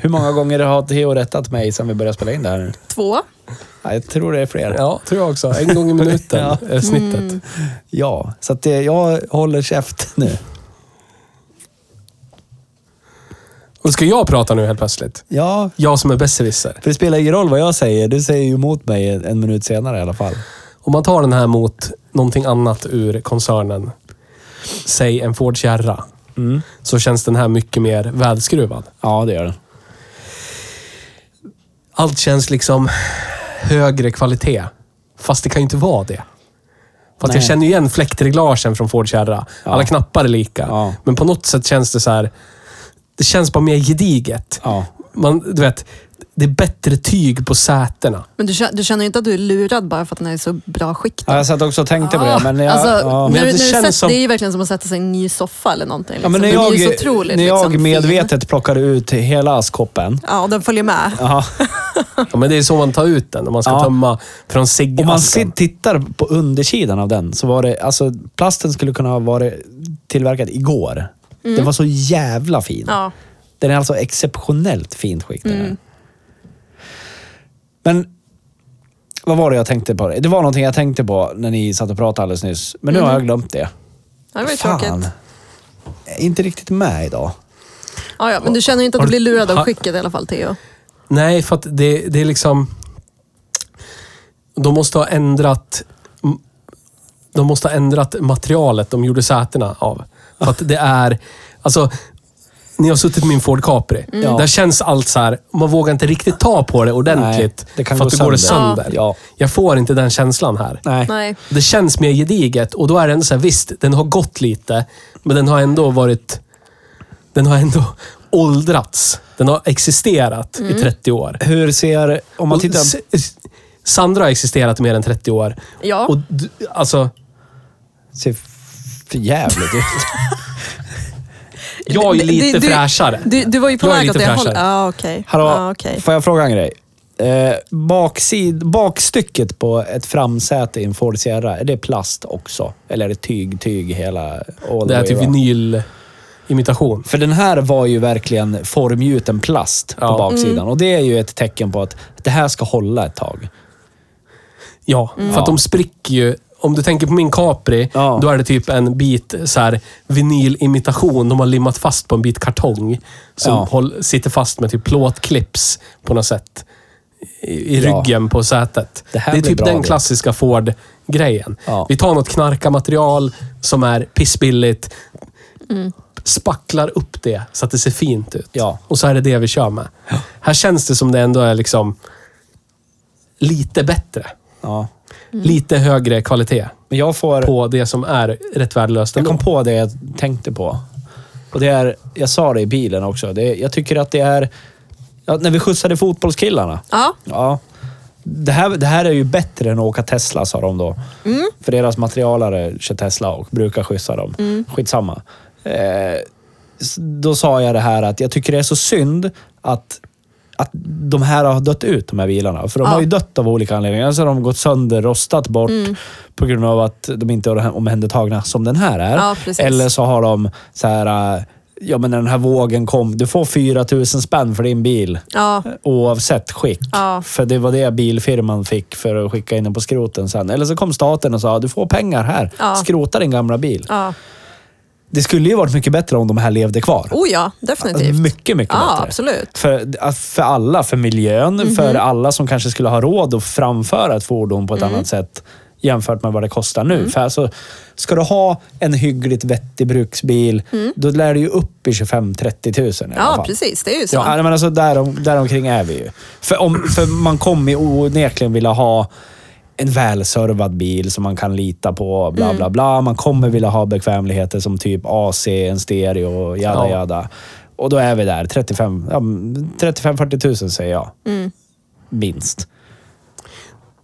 Speaker 4: Hur många gånger har Theo rättat mig sedan vi började spela in det här nu?
Speaker 3: Två.
Speaker 4: Ja, jag tror det är fler.
Speaker 2: Ja, tror jag också. En
Speaker 4: <laughs>
Speaker 2: gång i minuten
Speaker 4: Ja.
Speaker 2: är snittet.
Speaker 4: Ja, så att det, jag håller käft <laughs> nu.
Speaker 2: Och ska jag prata nu helt plötsligt?
Speaker 4: Ja,
Speaker 2: Jag som är besserwisser.
Speaker 4: för det spelar ingen roll vad jag säger. Du säger ju emot mig en en minut senare i alla fall.
Speaker 2: Om man tar den här mot någonting annat ur koncernen, säg en Ford Sierra,
Speaker 4: Mm.
Speaker 2: så känns den här mycket mer välskruvad.
Speaker 4: Ja, det gör den.
Speaker 2: Allt känns liksom högre kvalitet. Fast det kan ju inte vara det. För att jag
Speaker 4: Nej.
Speaker 2: känner ju igen fläktreglagen från Ford Sierra. Alla knappar är lika.
Speaker 4: Ja.
Speaker 2: Men på något sätt känns det så här... Det känns bara mer gediget.
Speaker 4: Ja.
Speaker 2: Man, du vet, det är bättre tyg på sätena.
Speaker 3: Men du, kä- du känner ju inte att du är lurad bara för att den är i så bra skick? då?
Speaker 4: Ja, jag satt också och tänkte på det, men jag,
Speaker 3: alltså,
Speaker 4: ja.
Speaker 3: när,
Speaker 2: Men
Speaker 3: du-
Speaker 2: det
Speaker 3: när
Speaker 2: känns
Speaker 3: du sätter,
Speaker 2: som-
Speaker 3: det är ju verkligen som att sätta sig i en ny soffa eller någonting.
Speaker 4: Ja,
Speaker 3: Liksom.
Speaker 4: men när
Speaker 3: Den
Speaker 4: jag,
Speaker 3: blir ju så otroligt
Speaker 4: när jag
Speaker 3: liksom, Fin.
Speaker 4: medvetet plockade ut hela askkoppen.
Speaker 3: Ja, den följer med.
Speaker 4: Ja.
Speaker 2: Ja, men det är så man tar ut den. Om man ska
Speaker 4: Ah. Ja.
Speaker 2: tömma från
Speaker 4: Om man
Speaker 2: ciggasken.
Speaker 4: sit- tittar på undersidan av den så var det, alltså plasten skulle kunna ha varit tillverkad igår. Den var så jävla fin.
Speaker 3: Mm. Ja. Mm.
Speaker 4: Den är alltså exceptionellt fint skick. den här. Men vad var det jag tänkte på? Det var någonting jag tänkte på när ni satt och pratade alldeles nyss. Men nu har jag glömt det.
Speaker 3: Mm. Ja, Det var ju
Speaker 4: Fan.
Speaker 3: tråkigt.
Speaker 4: Jag är inte riktigt med idag.
Speaker 3: Ja, ja, men du känner ju inte att
Speaker 2: Har
Speaker 3: du
Speaker 2: du-
Speaker 3: blir lurad
Speaker 2: har-
Speaker 3: av skicket i alla fall, Theo.
Speaker 2: Nej, för att det, det är liksom... De måste ha ändrat... De måste ha ändrat materialet de gjorde sätena av. För att det är... Alltså, ni har suttit i min Ford Capri.
Speaker 4: Mm. Ja.
Speaker 2: Där känns allt så här... Man vågar inte riktigt ta på det ordentligt.
Speaker 4: Nej, det kan
Speaker 2: för
Speaker 4: gå
Speaker 2: att det går
Speaker 4: sönder.
Speaker 2: sönder.
Speaker 4: Ja.
Speaker 2: Jag får inte den känslan här.
Speaker 4: Nej.
Speaker 3: Nej.
Speaker 2: Det känns mer gediget och då är det ändå så här, visst, den har gått lite, men den har ändå varit... Den har ändå <laughs> åldrats. Den har existerat
Speaker 3: Mm.
Speaker 2: i 30 år.
Speaker 4: Hur ser, om man
Speaker 2: Och
Speaker 4: tittar...
Speaker 2: S- S- Sandra har existerat i mer än 30 år.
Speaker 3: Ja.
Speaker 2: Och d- alltså,
Speaker 4: Ser för jävligt ut.
Speaker 2: Jag är ju lite fräschare.
Speaker 3: Du, du var ju på
Speaker 2: Jag är
Speaker 3: väg åt
Speaker 2: lite
Speaker 3: det hållet.
Speaker 2: fräschare.
Speaker 3: Ja, okej.
Speaker 4: Hallå,
Speaker 3: Ja, okej.
Speaker 4: får jag fråga en grej? Eh, baksid, bakstycket på ett framsäte i en Ford Sierra, är det plast också? Eller är det tyg, tyg hela...
Speaker 2: Det
Speaker 4: all the
Speaker 2: är
Speaker 4: way
Speaker 2: typ
Speaker 4: around?
Speaker 2: vinylimitation.
Speaker 4: För den här var ju verkligen formgjuten plast på
Speaker 2: Ja.
Speaker 4: baksidan.
Speaker 3: Mm.
Speaker 4: Och det är ju ett tecken på att det här ska hålla ett tag.
Speaker 2: Ja, för att de spricker ju. Om du tänker på min Capri,
Speaker 4: Ja.
Speaker 2: då är det typ en bit så här, vinylimitation. De har limmat fast på en bit kartong som
Speaker 4: Ja.
Speaker 2: håll, sitter fast med typ plåtklips på något sätt. I, i
Speaker 4: Ja.
Speaker 2: ryggen på sätet. Det,
Speaker 4: Det här
Speaker 2: är
Speaker 4: blir
Speaker 2: typ
Speaker 4: bra
Speaker 2: den
Speaker 4: då.
Speaker 2: klassiska Ford-grejen.
Speaker 4: Ja.
Speaker 2: Vi tar något knarkarmaterial som är pissbilligt. Spacklar upp det så att det ser fint ut.
Speaker 4: Ja.
Speaker 2: Och så är det det vi kör med. Här känns det som det ändå är liksom lite bättre
Speaker 4: Ja.
Speaker 2: Mm. lite högre kvalitet
Speaker 4: Men jag får...
Speaker 2: på det som är rätt värdelöst
Speaker 4: Jag
Speaker 2: ändå.
Speaker 4: kom på det jag tänkte på. Och det är, jag sa det i bilen också, det, är- jag tycker att det är... Ja, när vi skjutsade fotbollskillarna.
Speaker 3: Ja,
Speaker 4: Ja. Det här, det här är ju bättre än att åka Tesla, sa de då.
Speaker 3: Mm.
Speaker 4: För deras materialare kör Tesla och brukar skjutsa dem.
Speaker 3: Mm.
Speaker 4: Skitsamma. Eh, s- då sa jag det här att jag tycker det är så synd att, att de här har dött ut, de här bilarna. För de
Speaker 3: Ja. Mm.
Speaker 4: har ju dött av olika anledningar. Alltså de har gått sönder, rostat bort på grund av att de inte är omhändertagna som den här är.
Speaker 3: Ja, precis.
Speaker 4: Eller så har de så här... eh, Ja, men när den här vågen kom. Du får 4 000 spänn för din bil
Speaker 3: ja.
Speaker 4: Eh, oavsett skick.
Speaker 3: Ja.
Speaker 4: För det var det bilfirman fick för att skicka in den på skroten sen. Eller så kom staten och sa du får pengar här.
Speaker 3: Ja.
Speaker 4: Skrota din gamla bil.
Speaker 3: ja.
Speaker 4: Det skulle ju varit mycket bättre om de här levde kvar.
Speaker 3: Oh ja, definitivt.
Speaker 4: Alltså, mycket, mycket
Speaker 3: Ja,
Speaker 4: bättre.
Speaker 3: absolut. Mhm.
Speaker 4: För, för alla, för miljön, för alla som kanske skulle ha råd att framföra ett fordon på ett
Speaker 3: Mm.
Speaker 4: annat sätt jämfört med vad det kostar nu. För alltså, ska du ha en hyggligt vettig bruksbil, då lär du ju upp i 25-30 tusen i alla
Speaker 3: Mm. Ja,
Speaker 4: fall.
Speaker 3: precis. Det är ju så.
Speaker 4: Ja, nej, men alltså därom, däromkring är vi ju. För, om, för man kommer ju onekligen vilja ha en välservad bil som man kan lita på, bla
Speaker 3: Mm.
Speaker 4: bla bla. Man kommer vilja ha bekvämligheter som typ AC, en stereo, jada
Speaker 2: Ja.
Speaker 4: jada. Och då är vi där. 35 ja, 35-40 tusen säger jag.
Speaker 3: Mm.
Speaker 4: Minst.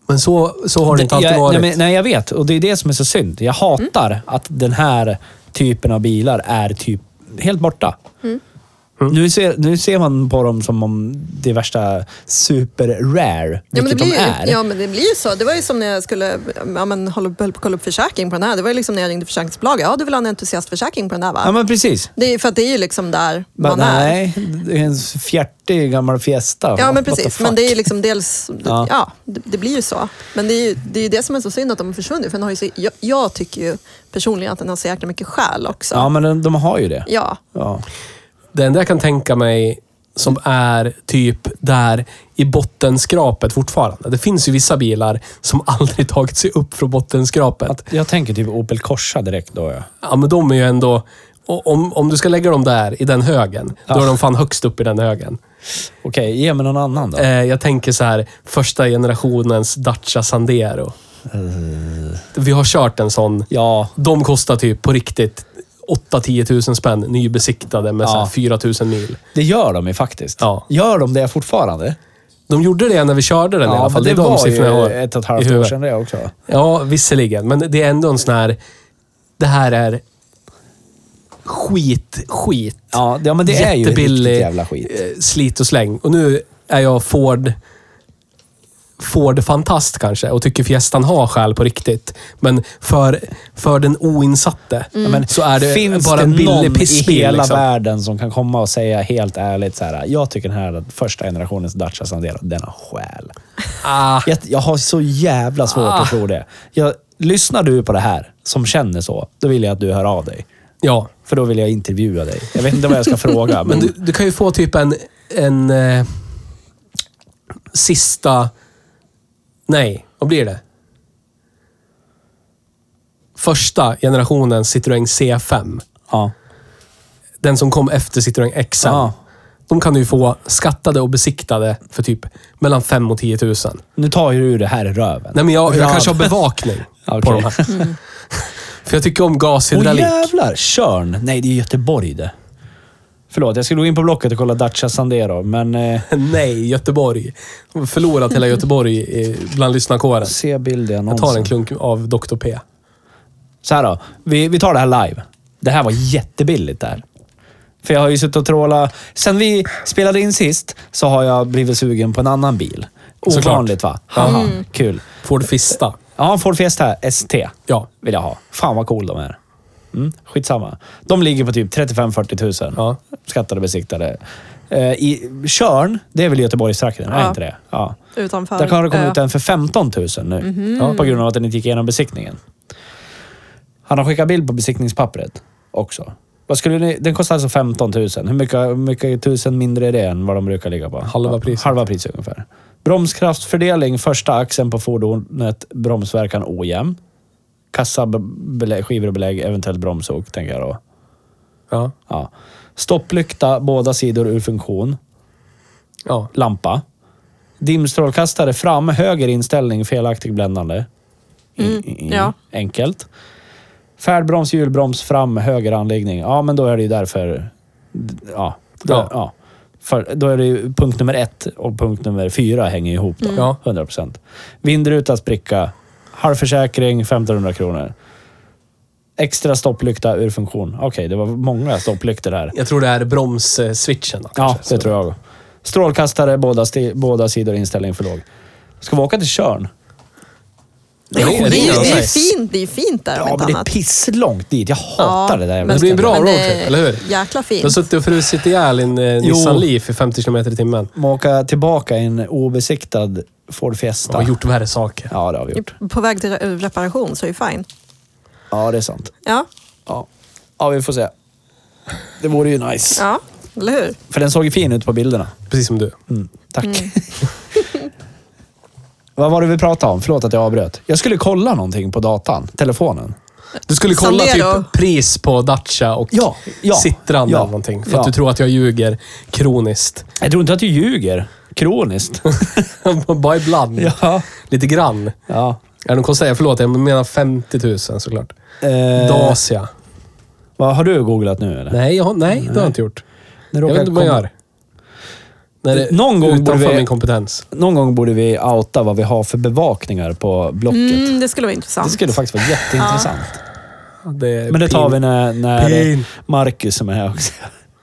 Speaker 2: Men så, så har det inte alltid
Speaker 4: jag,
Speaker 2: varit.
Speaker 4: Nej, men, nej, jag vet. Och det är det som är så synd. Jag hatar att den här typen av bilar är typ helt borta.
Speaker 3: Mm.
Speaker 4: Nu, ser, nu ser man på dem som om det är värsta super-rare,
Speaker 3: Ja, men det
Speaker 4: vilket
Speaker 3: blir,
Speaker 4: de är.
Speaker 3: ju, ja, men det blir ju så. Det var ju som när jag skulle ja, men, hålla, höll på att kolla upp försäkring på den här. Det var ju liksom när jag ringde försäkringsbolaget. Ja, du vill ha en entusiastförsäkring på den här va?
Speaker 4: Ja, men precis.
Speaker 3: Det är, för att det är ju liksom där
Speaker 4: Men,
Speaker 3: man är.
Speaker 4: nej, det är en fjärtig gammal fiesta.
Speaker 3: Ja, men
Speaker 4: What the
Speaker 3: precis.
Speaker 4: fuck?
Speaker 3: Men det är ju liksom dels...
Speaker 4: Ja.
Speaker 3: Ja, det, det blir ju så. Men det är ju det, är ju det som är så synd att de har försvunnit. För den har ju så, jag, jag tycker ju personligen att den har så jäkla mycket själ också.
Speaker 4: Ja, men de, de har ju det.
Speaker 3: Ja.
Speaker 4: Ja.
Speaker 2: Det enda jag kan tänka mig som är typ där i bottenskrapet fortfarande. Det finns ju vissa bilar som <laughs> aldrig tagit sig upp från bottenskrapet.
Speaker 4: Att, jag tänker typ Opel Corsa direkt då. Ja.
Speaker 2: Ja, men de är ju ändå... o- Om, om du ska lägga dem där, i den högen, då är de fan högst upp i den högen.
Speaker 4: Okej, ge mig någon annan då.
Speaker 2: Eh, jag tänker så här, första generationens Dacia Sandero. Vi har kört en sån
Speaker 4: Ja,
Speaker 2: De kostar typ på riktigt 8-10 tusen spänn nybesiktade med så här
Speaker 4: Ja.
Speaker 2: 4 000 mil.
Speaker 4: det gör de ju faktiskt.
Speaker 2: Ja.
Speaker 4: Gör de det fortfarande?
Speaker 2: De gjorde det när vi körde den i alla fall.
Speaker 4: men
Speaker 2: Det, är de siffrorna jag har
Speaker 4: ju ett och
Speaker 2: i
Speaker 4: ett halvt år
Speaker 2: huvudet.
Speaker 4: sedan det också.
Speaker 2: Ja, visserligen. Men det är ändå en sån här... Det här är skit, skit.
Speaker 4: Ja, det- ja, men det är ju riktigt jävla skit.
Speaker 2: eh, Slit och släng. Och nu är jag Ford... Ford-fantast kanske och tycker Fiestan har själ på riktigt. Men för, för den oinsatte
Speaker 4: Men
Speaker 2: så är det
Speaker 4: finns
Speaker 2: bara en billig
Speaker 4: någon i
Speaker 2: pissbil.
Speaker 4: hela
Speaker 2: liksom.
Speaker 4: världen som kan komma och säga helt ärligt så här. Jag tycker den här första generationens Dacia Sandero, den har själ.
Speaker 2: Ah.
Speaker 4: Jag, jag har så jävla svårt
Speaker 2: Ah.
Speaker 4: att tro det. Jag, lyssnar du på det här som känner så, då vill jag att du hör av dig.
Speaker 2: Ja,
Speaker 4: För då vill jag intervjua dig. Jag vet inte vad jag ska fråga,
Speaker 2: <laughs>
Speaker 4: men
Speaker 2: men du, du kan ju få typ en, en eh, sista... Nej, vad blir det? Första generationen Citroën C5.
Speaker 4: ja.
Speaker 2: Den som kom efter Citroën XM.
Speaker 4: Ja.
Speaker 2: De kan du ju få skattade och besiktade för typ mellan 5 och 10 000.
Speaker 4: Nu tar ju du det här i röven.
Speaker 2: Nej, men jag, jag
Speaker 4: Ja.
Speaker 2: kanske har
Speaker 4: <laughs>
Speaker 2: bevakning
Speaker 4: Okej. Mm.
Speaker 2: på de här. <laughs> För jag tycker om
Speaker 4: Åh
Speaker 2: gashydraulik.
Speaker 4: jävlar! Körn! Nej, det är Göteborg det. Förlåt, jag skulle gå in på Blocket och kolla Dacia Sandero, men... Eh,
Speaker 2: Nej, Göteborg. De har Förlorat hela Göteborg i- bland lyssnarkåren.
Speaker 4: se bild i
Speaker 2: Jag
Speaker 4: annonsen.
Speaker 2: tar en klunk av Dr. P.
Speaker 4: Så här då. Vi, vi tar det här live. Det här var jättebilligt där. För jag har ju suttit och trålat. Sen vi spelade in sist så har jag blivit sugen på en annan bil.
Speaker 2: Såklart.
Speaker 4: Ovanligt va? Haha, Kul.
Speaker 2: Ford Fista.
Speaker 4: Ja, Ford Fiesta ST
Speaker 2: Ja.
Speaker 4: vill jag ha. Fan vad cool de är. Mm, skitsamma. De ligger på typ 35-40 000.
Speaker 2: Ja.
Speaker 4: Skattade besiktade. Eh, I Körn, det är väl Göteborgstrakten? Är
Speaker 3: Ja.
Speaker 4: inte det? Ja.
Speaker 3: Utanför.
Speaker 4: Där har det kommit
Speaker 3: ö.
Speaker 4: ut en för 15 000 nu. Ja, på grund av att den inte gick igenom besiktningen. Han har skickat bild på besiktningspappret också. Vad skulle ni, den kostar alltså 15 000. Hur mycket, hur mycket tusen mindre är det än vad de brukar ligga på?
Speaker 2: Halva priset.
Speaker 4: Halva priset ungefär. Bromskraftsfördelning, första axeln på fordonet, bromsverkan ojämn. Kassa, be- belägg, skivor och belägg, eventuellt bromsok, tänker jag då.
Speaker 2: Ja.
Speaker 4: Ja. Stopplykta, båda sidor ur funktion
Speaker 2: Ja.
Speaker 4: lampa. Dimstrålkastare fram, höger inställning, felaktig bländande. I- i- i-
Speaker 3: ja.
Speaker 4: Enkelt. Färdbroms, hjulbroms fram, höger anläggning. Ja, men då är det ju därför... d- Ja. Då,
Speaker 2: Ja.
Speaker 4: ja. För, då är det ju punkt nummer ett och punkt nummer fyra hänger ihop då.
Speaker 2: Mm. Ja.
Speaker 4: 100 procent. Vindruta, spricka. Halvförsäkring, 1500 kronor. Extra stopplykta ur funktion. Okej, det var många stopplyktor här.
Speaker 2: Jag tror det är bromsswitchen.
Speaker 4: Ja, det tror jag. Strålkastare, båda, sti- båda sidor inställning för låg. Ska vi åka till Tjörn?
Speaker 3: Det,
Speaker 2: Jo,
Speaker 3: är, det,
Speaker 2: det
Speaker 3: är,
Speaker 2: är
Speaker 3: det, är
Speaker 2: nice.
Speaker 3: fint, det är fint där om
Speaker 4: Ja,
Speaker 3: inte
Speaker 4: men det är
Speaker 3: annat.
Speaker 4: pisslångt dit. Jag hatar det där jävla
Speaker 2: men- Det blir en
Speaker 4: stället.
Speaker 2: bra
Speaker 3: men det
Speaker 2: roadtrip,
Speaker 3: är
Speaker 2: eller hur?
Speaker 3: Jäkla
Speaker 2: Du har
Speaker 3: fint.
Speaker 2: suttit och frusit ihjäl en eh,
Speaker 4: Jo.
Speaker 2: Nissan Leaf i 50 km i timmen.
Speaker 4: Men åka tillbaka i en obesiktad Ford
Speaker 2: Du
Speaker 4: Fiesta.
Speaker 2: har gjort värre saker.
Speaker 4: Ja, det har vi gjort.
Speaker 3: På väg till re- reparation så är det fine.
Speaker 4: Ja, det är sant.
Speaker 3: Ja,
Speaker 4: Ja, ja vi får se. Det vore ju nice.
Speaker 3: ja eller hur?
Speaker 4: För den såg ju fin ut på bilderna.
Speaker 2: Precis som du.
Speaker 4: Mm, tack. <laughs> Vad var det vi pratade om? Förlåt att jag avbröt. Jag skulle kolla någonting på datan, telefonen.
Speaker 2: Du skulle kolla
Speaker 3: Sandero.
Speaker 2: typ pris på Dacia och
Speaker 4: Ja, ja,
Speaker 2: Citran
Speaker 4: ja,
Speaker 2: eller någonting. För
Speaker 4: ja.
Speaker 2: att du tror att jag ljuger kroniskt. <laughs>
Speaker 4: Jag tror inte att du ljuger. <laughs> Kroniskt.
Speaker 2: Bara ibland.
Speaker 4: ja.
Speaker 2: Lite grann.
Speaker 4: ja.
Speaker 2: Ja, de kostar, förlåt, jag menar 50 000 såklart.
Speaker 4: Eh,
Speaker 2: Dacia.
Speaker 4: vad, har du googlat nu eller?
Speaker 2: Nej, jag, har- nej, det har jag inte gjort.
Speaker 4: Nu
Speaker 2: Jag
Speaker 4: råkar
Speaker 2: vet inte vad jag
Speaker 4: komma-
Speaker 2: gör. När det,
Speaker 4: Någon gång borde
Speaker 2: utanför
Speaker 4: vi-
Speaker 2: min kompetens.
Speaker 4: Någon gång borde vi outa vad vi har för bevakningar på Blocket.
Speaker 3: Mm, det skulle vara
Speaker 4: Det
Speaker 3: intressant.
Speaker 4: skulle faktiskt vara jätteintressant.
Speaker 2: Det är
Speaker 4: Men det tar
Speaker 2: pin-
Speaker 4: vi när, när
Speaker 2: Pin.
Speaker 4: Marcus som är här också.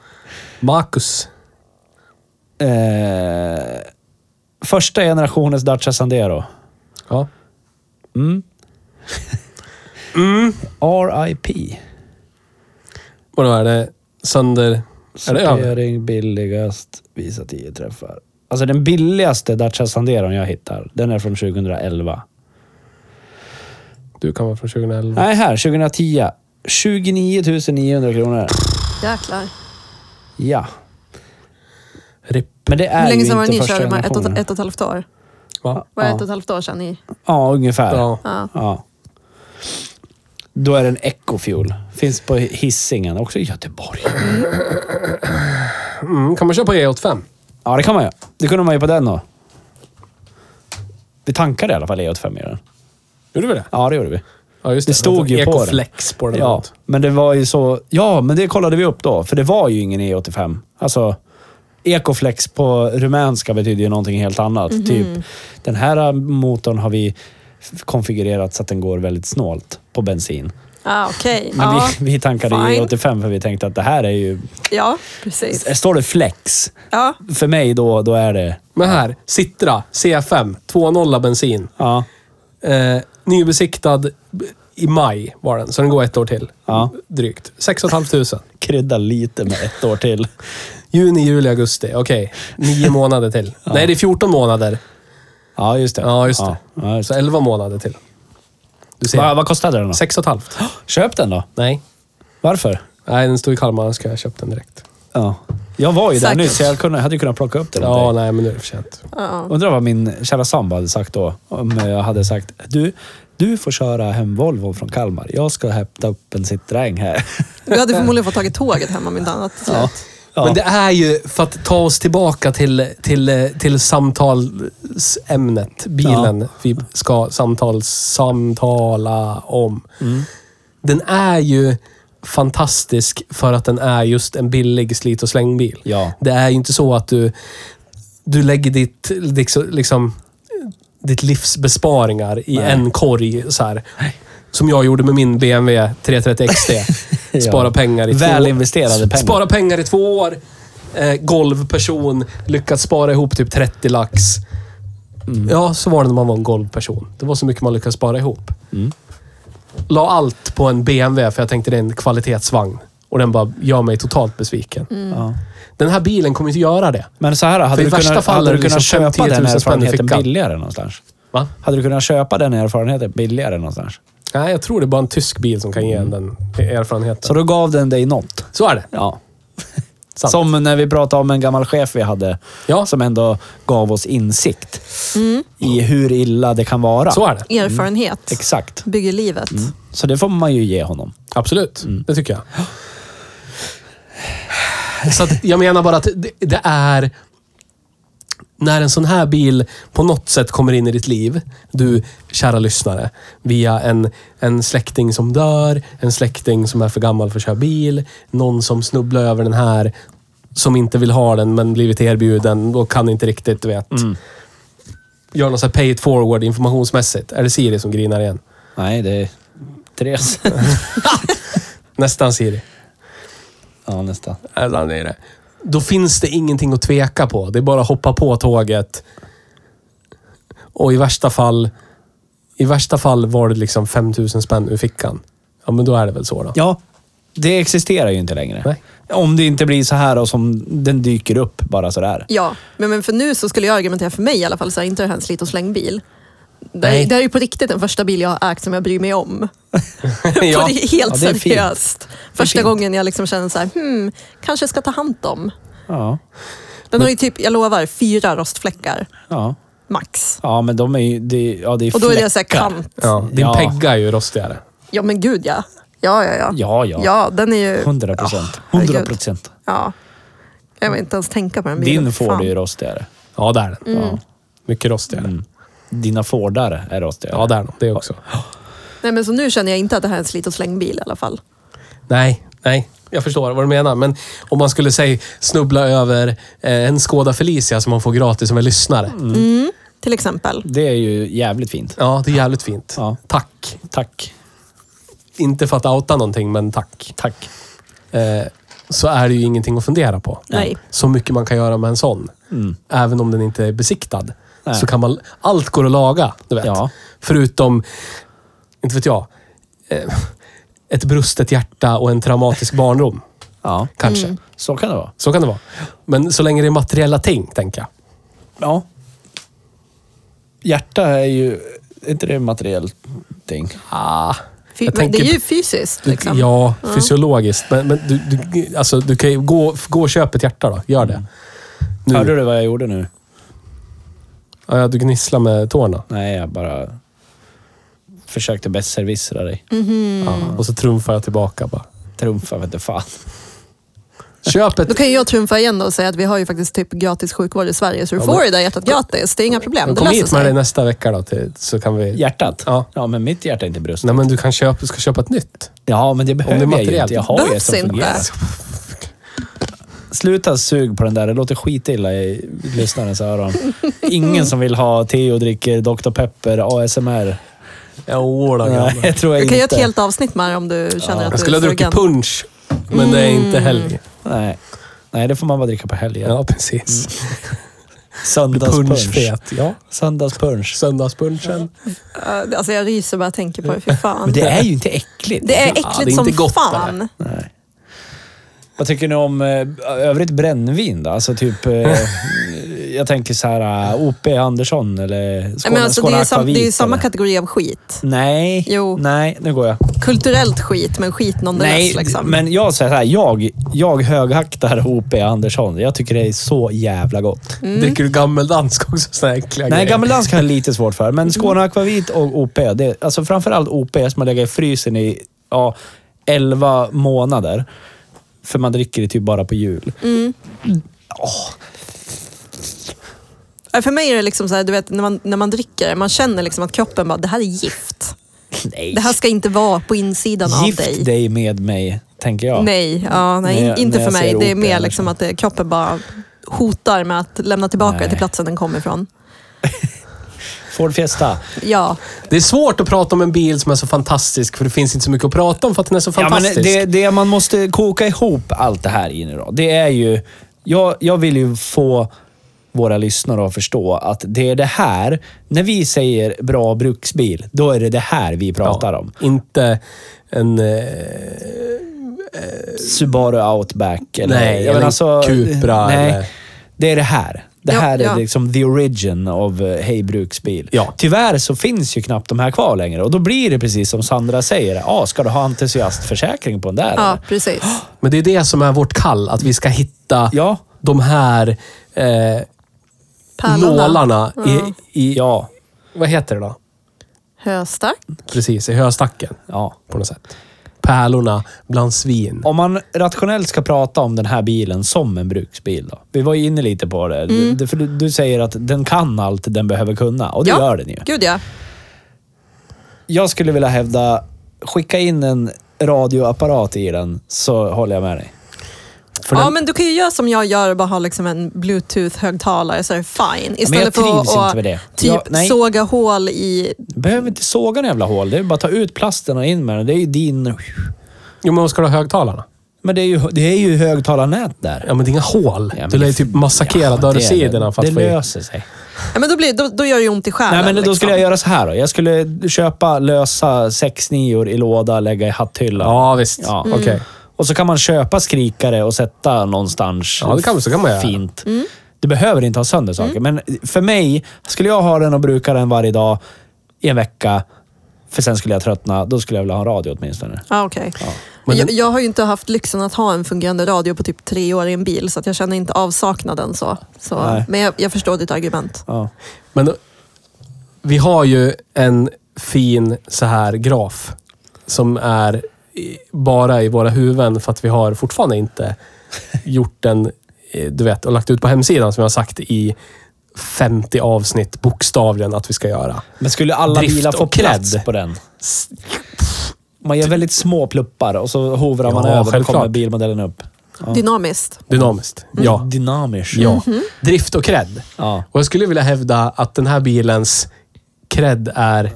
Speaker 4: <laughs>
Speaker 2: Marcus.
Speaker 4: Eh, första generationens Dacia Sandero.
Speaker 2: Ja. Mm.
Speaker 4: <laughs> RIP.
Speaker 2: Vadå, är det sönder... Är det över?
Speaker 4: Sortering billigast, visa 10 träffar. Alltså den billigaste Dacia Sanderon jag hittar, den är från 2011.
Speaker 2: Du kan vara från
Speaker 3: Mm.
Speaker 2: 2011.
Speaker 4: Nej, här. 2010. 29 900 kronor.
Speaker 3: Jäklar.
Speaker 4: Ja.
Speaker 2: Ripp.
Speaker 4: Men det är
Speaker 3: Hur länge
Speaker 4: ju
Speaker 3: sedan var det
Speaker 4: inte
Speaker 3: ni
Speaker 4: första
Speaker 3: körde? Ett, ett,
Speaker 4: generationen.
Speaker 3: och- ett och ett halvt år?
Speaker 2: Va?
Speaker 3: Var det
Speaker 4: Ja.
Speaker 3: ett och ett halvt år sedan ni...
Speaker 4: Ja, ungefär.
Speaker 2: Ja.
Speaker 3: Ja.
Speaker 4: Ja. Då är det en Ecofuel. Finns på Hisingen, också i Göteborg.
Speaker 2: Mm, kan man köpa E85?
Speaker 4: Ja, det kan man ju. Det kunde man ju på den då. Vi tankade i alla fall E85 i den.
Speaker 2: Gjorde vi det?
Speaker 4: Ja, det gjorde vi.
Speaker 2: Ja, just det.
Speaker 4: Det stod ju på den.
Speaker 2: Ecoflex på den.
Speaker 4: Ja, men det var ju så... Ja, men det kollade vi upp då, för det var ju ingen E85. Alltså, Ecoflex på rumänska betyder ju någonting helt annat.
Speaker 3: Mhm.
Speaker 4: Typ, den här motorn har vi f- konfigurerat så att den går väldigt snålt på bensin.
Speaker 3: Ah, Okej.
Speaker 4: Men
Speaker 3: Ja.
Speaker 4: <laughs> vi, vi tankade ju
Speaker 3: fine.
Speaker 4: E85 för vi tänkte att det här är ju...
Speaker 3: ja, precis.
Speaker 4: Står det flex?
Speaker 3: Ja.
Speaker 4: För mig då, då är det...
Speaker 2: Men här, Citra C5, 2.0 bensin.
Speaker 4: Ja.
Speaker 2: Eh, nybesiktad i maj var den, så den går ett år till.
Speaker 4: Ja.
Speaker 2: Drygt. 6 500.
Speaker 4: Krydda lite med ett år till.
Speaker 2: Juni, juli, augusti. Okej,
Speaker 4: <laughs>
Speaker 2: nio månader till. Nej, det är 14 månader.
Speaker 4: Ja, just det.
Speaker 2: Ja, just det.
Speaker 4: Ja, just
Speaker 2: Så
Speaker 4: det.
Speaker 2: 11 månader till. Du
Speaker 4: Va,
Speaker 2: ser.
Speaker 4: vad kostade den då?
Speaker 2: Sex och ett halvt.
Speaker 4: Köp den då.
Speaker 2: Nej.
Speaker 4: Varför?
Speaker 2: Nej, den stod i Kalmar, annars skulle jag ha köpt den direkt.
Speaker 4: Ja. Jag var ju där
Speaker 3: Säkert.
Speaker 4: nyss, så jag kunde, hade ju kunnat plocka upp den. åt
Speaker 2: Ja,
Speaker 4: dig.
Speaker 2: nej, men nu är det för sent.
Speaker 3: Ja.
Speaker 4: Undrar vad min kära sambo hade sagt då. Om jag hade sagt, du, du får köra hem Volvo från Kalmar. Jag ska hämta upp en Citroën här. <laughs>
Speaker 3: Du hade förmodligen fått tagit tåget hem om inte annat. till slut.
Speaker 4: Ja.
Speaker 2: Men det är ju för att ta oss tillbaka till, till, till samtalsämnet, bilen vi ska samtal, samtala om.
Speaker 4: Mm.
Speaker 2: Den är ju fantastisk för att den är just en billig slit och slängbil.
Speaker 4: Ja.
Speaker 2: Det är ju inte så att du, du lägger ditt, liksom, liksom, ditt livs besparingar i
Speaker 4: Nej.
Speaker 2: en korg. Så här. Som jag gjorde med min BMW 330 XT.
Speaker 4: <laughs>
Speaker 2: Spara pengar i två
Speaker 4: Väl investerade pengar.
Speaker 2: Spara pengar i två år. Eh, golvperson. Lyckats spara ihop typ 30 lax.
Speaker 4: Mm.
Speaker 2: Ja, så var det när man var en golvperson. Det var så mycket man lyckades spara ihop.
Speaker 4: Mm.
Speaker 2: La allt på en BMW för jag tänkte det är en kvalitetsvagn. Och den bara gör mig totalt besviken.
Speaker 4: Ja.
Speaker 2: Den här bilen kommer inte göra det.
Speaker 4: Men så här,
Speaker 2: För
Speaker 4: hade
Speaker 2: i
Speaker 4: du
Speaker 2: värsta
Speaker 4: kunnat,
Speaker 2: fall
Speaker 4: hade
Speaker 2: är
Speaker 4: du
Speaker 2: det
Speaker 4: kunnat
Speaker 2: liksom
Speaker 4: köpa
Speaker 2: 10 000
Speaker 4: den
Speaker 2: spänn i
Speaker 4: erfarenheten
Speaker 2: fickan.
Speaker 4: billigare någonstans?
Speaker 2: Va?
Speaker 4: Hade du kunnat köpa den erfarenheten billigare någonstans?
Speaker 2: Nej, jag tror det är bara en tysk bil som kan ge en den erfarenheten.
Speaker 4: Mm. Så
Speaker 2: Så,
Speaker 4: då gav den dig något?
Speaker 2: är det.
Speaker 4: Ja.
Speaker 2: Sant.
Speaker 4: Som när vi pratade om en gammal chef vi hade,
Speaker 2: Ja. Mm.
Speaker 4: som ändå gav oss insikt i hur illa det kan vara.
Speaker 2: Så är det.
Speaker 3: Erfarenhet
Speaker 4: Exakt.
Speaker 3: bygger livet.
Speaker 4: Så det får man ju ge honom.
Speaker 2: Absolut. Det tycker jag. Så att jag menar bara att det, det är... När en sån här bil på något sätt kommer in i ditt liv, du kära lyssnare, via en, en släkting som dör, en släkting som är för gammal för att köra bil, någon som snubblar över den här, som inte vill ha den men blivit erbjuden och kan inte riktigt, du vet. Gör något så här pay it forward informationsmässigt. Är det Siri som grinar igen?
Speaker 4: Nej, det är <laughs> Therese.
Speaker 2: Nästan Siri.
Speaker 4: ja, nästan.
Speaker 2: Eller är det. Då finns det ingenting att tveka på. Det är bara att hoppa på tåget. Och i värsta fall, i värsta fall var det liksom 5000 spänn ur fickan. Ja, men då är det väl så då.
Speaker 4: Ja, det existerar ju inte längre.
Speaker 2: Nej.
Speaker 4: Om det inte blir så här och som den dyker upp bara sådär.
Speaker 3: Ja, men, men för nu så skulle jag argumentera för mig i alla fall, så är inte det här en slit och slängbil. Det,
Speaker 2: Nej.
Speaker 3: är- det här är ju på riktigt den första bil jag har ägt som jag bryr mig om.
Speaker 2: <laughs> Ja.
Speaker 3: På det, helt
Speaker 4: <laughs> Ja, det är fint.
Speaker 3: seriöst. Första
Speaker 4: fint.
Speaker 3: gången jag liksom känner så här, hmm, kanske jag ska ta hand om.
Speaker 4: Ja.
Speaker 3: Den har ju typ, jag lovar, fyra rostfläckar
Speaker 4: Ja.
Speaker 3: max.
Speaker 4: Ja, men de är ju... Det, ja, det är
Speaker 3: Och då är det så här
Speaker 4: fläckar.
Speaker 3: kant.
Speaker 2: Ja, din
Speaker 4: Ja.
Speaker 2: pegga är ju rostigare.
Speaker 3: Ja men gud ja. Ja, ja, ja.
Speaker 4: Ja, ja.
Speaker 3: Ja, den är ju...
Speaker 4: 100 procent.
Speaker 3: Ja,
Speaker 4: 100
Speaker 3: herregud.
Speaker 4: procent.
Speaker 3: Ja. Jag vill inte ens tänka på den bilen.
Speaker 4: Din Ford
Speaker 3: Fan.
Speaker 4: är ju rostigare.
Speaker 2: Ja, det är den. Ja. Mycket rostigare.
Speaker 4: Dina Fordar är rostigare.
Speaker 2: Ja, det är den. Det också.
Speaker 3: Nej, men så nu känner jag inte att det här är en slit och slängbil i alla fall.
Speaker 2: Nej, nej. Jag förstår vad du menar. Men om man skulle säg, snubbla över eh, en Skoda Felicia som man får gratis som en lyssnare.
Speaker 3: Till exempel.
Speaker 4: Det är ju jävligt fint.
Speaker 2: Ja, det är jävligt fint.
Speaker 4: Ja.
Speaker 2: Tack.
Speaker 4: Tack.
Speaker 2: Inte för att outa någonting, men tack.
Speaker 4: Tack.
Speaker 2: eh, så är det ju ingenting att fundera på.
Speaker 3: Nej.
Speaker 2: Så mycket man kan göra med en sån. Även om den inte är besiktad.
Speaker 4: Nej.
Speaker 2: Så kan man... Allt går att laga, du vet.
Speaker 4: Ja.
Speaker 2: Förutom, inte vet jag, eh, ett brustet hjärta och en traumatisk barndom.
Speaker 4: Ja,
Speaker 2: Kanske.
Speaker 4: så kan det vara.
Speaker 2: Så kan det vara. Men så länge det är materiella ting, tänker jag.
Speaker 4: Ja. Hjärta är ju... Är inte det en materiell ting?
Speaker 2: Ah.
Speaker 3: Fy,
Speaker 2: Jag
Speaker 3: men det
Speaker 2: tänker-
Speaker 3: är ju fysiskt. Liksom.
Speaker 2: Ja, fysiologiskt. Men, men du, du, alltså, du kan ju gå, gå och köpa ett hjärta då. Gör det. Nu.
Speaker 4: Hörde du vad jag gjorde nu?
Speaker 2: Ja, ja, du gnisslar med tårna.
Speaker 4: Nej, jag bara försökte besserwissra dig.
Speaker 3: Mm.
Speaker 2: Ja. Och så trumfar jag tillbaka bara.
Speaker 4: Trumfa vet du fan.
Speaker 2: <laughs> Köp
Speaker 3: Då
Speaker 2: ett...
Speaker 3: kan ju jag trumfa igen och säga att vi har ju faktiskt typ gratis sjukvård i Sverige, så du får det där hjärtat gratis. Det är inga problem. Det
Speaker 2: Kom
Speaker 3: löser
Speaker 2: hit med
Speaker 3: sig.
Speaker 2: det nästa vecka då, till, så kan vi...
Speaker 4: Hjärtat?
Speaker 2: Ja.
Speaker 4: men mitt hjärta är inte brustet.
Speaker 2: Nej, men du kan köpa, du ska köpa ett nytt.
Speaker 4: Ja, men det behöver jag ju
Speaker 2: materiellt.
Speaker 4: inte. Jag har ju ett
Speaker 3: Behövs
Speaker 4: som
Speaker 3: inte.
Speaker 4: fungerar. Sluta sug på den där. Det låter skitilla i lyssnarens öron. Ingen som vill ha te och dricker Dr Pepper ASMR.
Speaker 2: Jodå,
Speaker 4: Nej,
Speaker 2: gammal.
Speaker 4: jag tror jag
Speaker 3: Du
Speaker 4: inte.
Speaker 3: kan göra ett helt avsnitt med det om du känner att
Speaker 2: Jag
Speaker 3: du
Speaker 2: skulle
Speaker 3: är
Speaker 2: ha druckit
Speaker 3: sugen.
Speaker 2: punch, men det
Speaker 4: Mm.
Speaker 2: är inte helg.
Speaker 4: Nej. Nej, det får man bara dricka på helgen.
Speaker 2: Ja,
Speaker 4: Mm.
Speaker 2: precis.
Speaker 4: Söndagspunsch.
Speaker 2: Punschfet. Ja.
Speaker 4: Söndagspunsch.
Speaker 2: Söndagspunchen.
Speaker 3: Eh, Alltså jag ryser bara jag tänker på det. Fy fan.
Speaker 4: <laughs> Men det är ju inte äckligt.
Speaker 3: Det är äckligt
Speaker 2: Ja, det är inte
Speaker 3: som
Speaker 2: gott,
Speaker 3: fan.
Speaker 4: Nej. Vad tycker ni om eh, övrigt brännvin då? Alltså typ, eh,
Speaker 3: <laughs>
Speaker 4: jag tänker så här eh, O.P. Andersson eller
Speaker 3: Nej,
Speaker 4: Skåne,
Speaker 3: men alltså, det,
Speaker 4: Skåne
Speaker 3: är ju sam, det är ju
Speaker 4: Aquavit
Speaker 3: samma
Speaker 4: eller-
Speaker 3: kategori av skit.
Speaker 4: Nej,
Speaker 3: Jo.
Speaker 4: nej, nu går jag.
Speaker 3: Kulturellt skit, men skit nonetheless.
Speaker 4: Nej,
Speaker 3: liksom.
Speaker 4: men jag säger så här, jag, jag högaktar O.P. Andersson. Jag tycker det är så jävla gott.
Speaker 2: Dricker du gammeldansk också? Såna här äckliga
Speaker 4: Mm. Nej,
Speaker 2: grejer.
Speaker 4: gammeldansk har jag lite svårt för,
Speaker 3: Mm.
Speaker 4: men Skåne Akvavit och O.P. Det, alltså framförallt O.P. som har legat i frysen i ja, 11 månader. För man dricker det typ bara på jul.
Speaker 3: Mm. Ja, För mig är det liksom så här, du vet, när man, när man dricker, man känner liksom att kroppen bara, det här är gift.
Speaker 4: Nej.
Speaker 3: Det här ska inte vara på insidan
Speaker 4: Gift
Speaker 3: av dig.
Speaker 4: dig. med mig, tänker jag.
Speaker 3: Nej, ja, nej
Speaker 4: När jag-
Speaker 3: inte
Speaker 4: när
Speaker 3: för
Speaker 4: jag
Speaker 3: mig.
Speaker 4: ser
Speaker 3: Det är
Speaker 4: opera
Speaker 3: mer
Speaker 4: eller
Speaker 3: liksom
Speaker 4: så.
Speaker 3: att det, kroppen bara hotar med att lämna tillbaka
Speaker 4: Nej.
Speaker 3: det till platsen den kom ifrån.
Speaker 4: Ford Fiesta.
Speaker 3: Ja,
Speaker 2: Det är svårt att prata om en bil som är så fantastisk, för det finns inte så mycket att prata om för att den är så
Speaker 4: Ja, men
Speaker 2: fantastisk.
Speaker 4: det, det man måste koka ihop allt det här in i då, det är ju... Jag, jag vill ju få våra lyssnare att förstå att det är det här, när vi säger bra bruksbil, då är det det här vi pratar om.
Speaker 2: Inte en... Eh,
Speaker 4: Subaru Outback eller... alltså-
Speaker 2: Nej, eller Cupra
Speaker 4: Nej,
Speaker 2: eller-
Speaker 4: det är det här. Det
Speaker 3: Ja,
Speaker 4: här är
Speaker 3: ja.
Speaker 4: liksom the origin av eh, Hej Bruksbil.
Speaker 2: Ja.
Speaker 4: Tyvärr så finns ju knappt de här kvar längre och då blir det precis som Sandra säger. Ah, ska du ha entusiastförsäkring på den där?
Speaker 3: ja
Speaker 4: eller?
Speaker 3: precis.
Speaker 2: men det är det som är vårt kall, att vi ska hitta
Speaker 4: Ja.
Speaker 2: de här eh,
Speaker 3: Pärlorna.
Speaker 2: nålarna i, i... Ja. Vad heter det då?
Speaker 3: Höstack.
Speaker 2: Precis, i höstacken.
Speaker 4: ja.
Speaker 2: På något sätt. Pärlorna bland svin.
Speaker 4: Om man rationellt ska prata om den här bilen som en bruksbil då? Vi var ju inne lite på det.
Speaker 3: Mm.
Speaker 4: Du, för du, du säger att den kan allt den behöver kunna och det
Speaker 3: ja.
Speaker 4: gör den ju.
Speaker 3: Gud ja.
Speaker 4: Jag skulle vilja hävda, skicka in en radioapparat i den så håller jag med dig.
Speaker 2: För
Speaker 3: ja,
Speaker 2: den-
Speaker 3: men du kan ju göra som jag gör och bara ha liksom en bluetooth-högtalare så är det fine. Istället för
Speaker 4: trivs
Speaker 3: att
Speaker 4: inte med det.
Speaker 3: att typ
Speaker 4: Ja, nej.
Speaker 3: såga hål i...
Speaker 4: Behöver inte såga en jävla hål. Det är bara att ta ut plasten och in med den. Det är ju din...
Speaker 2: Jo, men vad ska du ha högtalarna?
Speaker 4: Men det är ju, det är ju högtalarnät där.
Speaker 2: Ja, men det är inga hål.
Speaker 4: Ja, men
Speaker 2: du lär ju
Speaker 4: det-
Speaker 2: typ massakrera
Speaker 4: Ja,
Speaker 2: dörrsidorna
Speaker 4: det-
Speaker 2: för att
Speaker 4: Det
Speaker 2: få in.
Speaker 4: löser sig.
Speaker 3: Ja, men då, blir, då, då gör det ju ont i själen.
Speaker 4: Nej, men då
Speaker 3: liksom.
Speaker 4: skulle jag göra så här då. Jag skulle köpa lösa 6 9 i låda, lägga i hatthyllan.
Speaker 2: Ja, visst.
Speaker 4: Ja. Mm.
Speaker 2: Okej.
Speaker 4: Och så kan man köpa skrikare och sätta någonstans
Speaker 2: Ja, det kan- så kan man göra. Mm.
Speaker 4: fint. Du behöver inte ha sönder saker, men för mig, skulle jag ha den och bruka den varje dag i en vecka, för sen skulle jag tröttna, då skulle jag vilja ha en radio åtminstone.
Speaker 3: Ja, okej.
Speaker 2: Men
Speaker 3: Jag,
Speaker 2: den-
Speaker 3: jag har ju inte haft lyxen att ha en fungerande radio på typ tre år i en bil, så att jag känner inte avsaknaden. så. så
Speaker 4: Nej.
Speaker 3: men jag, jag förstår ditt argument.
Speaker 4: Ja.
Speaker 2: Men då- vi har ju en fin så här graf som är i- bara i våra huvuden för att vi har fortfarande inte gjort den, eh, du vet, och lagt ut på hemsidan som jag har sagt i 50 avsnitt bokstavligen att vi ska göra.
Speaker 4: Men skulle alla
Speaker 2: Drift
Speaker 4: bilar få
Speaker 2: och kratt.
Speaker 4: plats på den? Man gör väldigt små pluppar och så hovrar man
Speaker 2: Ja,
Speaker 4: över och
Speaker 2: självklart.
Speaker 4: kommer bilmodellen upp.
Speaker 3: Dynamiskt.
Speaker 2: Dynamiskt.
Speaker 4: Mm.
Speaker 2: Ja.
Speaker 4: Dynamisch.
Speaker 2: ja.
Speaker 3: Mhm.
Speaker 2: Drift och cred.
Speaker 4: Ja.
Speaker 2: Och jag skulle vilja hävda att den här bilens cred är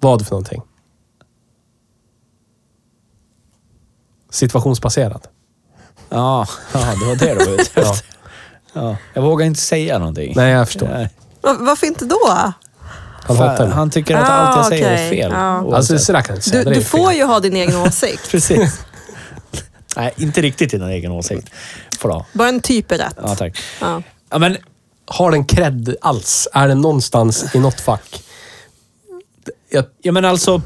Speaker 2: vad för någonting? Situationsbaserad.
Speaker 4: Ja. <laughs> ja, det var det du var ute efter.
Speaker 2: <laughs> Ja.
Speaker 4: Ja. Jag vågar inte säga någonting.
Speaker 2: Nej, jag förstår.
Speaker 4: Nej.
Speaker 3: Va- Varför inte då?
Speaker 2: Han hatar
Speaker 4: Fan,
Speaker 2: den.
Speaker 4: han tycker att
Speaker 3: Ah,
Speaker 4: allt jag säger
Speaker 3: okej. Ah.
Speaker 4: är fel.
Speaker 3: Ja.
Speaker 4: oavsett.
Speaker 2: Alltså,
Speaker 4: <laughs>
Speaker 2: sådär kan jag inte
Speaker 3: Du,
Speaker 2: säga. Det är
Speaker 3: du får
Speaker 2: fel.
Speaker 3: ju ha din egen åsikt.
Speaker 4: Precis. <laughs> Nej, inte riktigt i din egen åsikt. Får du ha.
Speaker 3: Bara en typ är rätt.
Speaker 4: Ja, tack.
Speaker 3: Ja.
Speaker 4: Ja, men
Speaker 2: Har den cred alls? Är den någonstans i något fack? Jag,
Speaker 4: Ja, men alltså,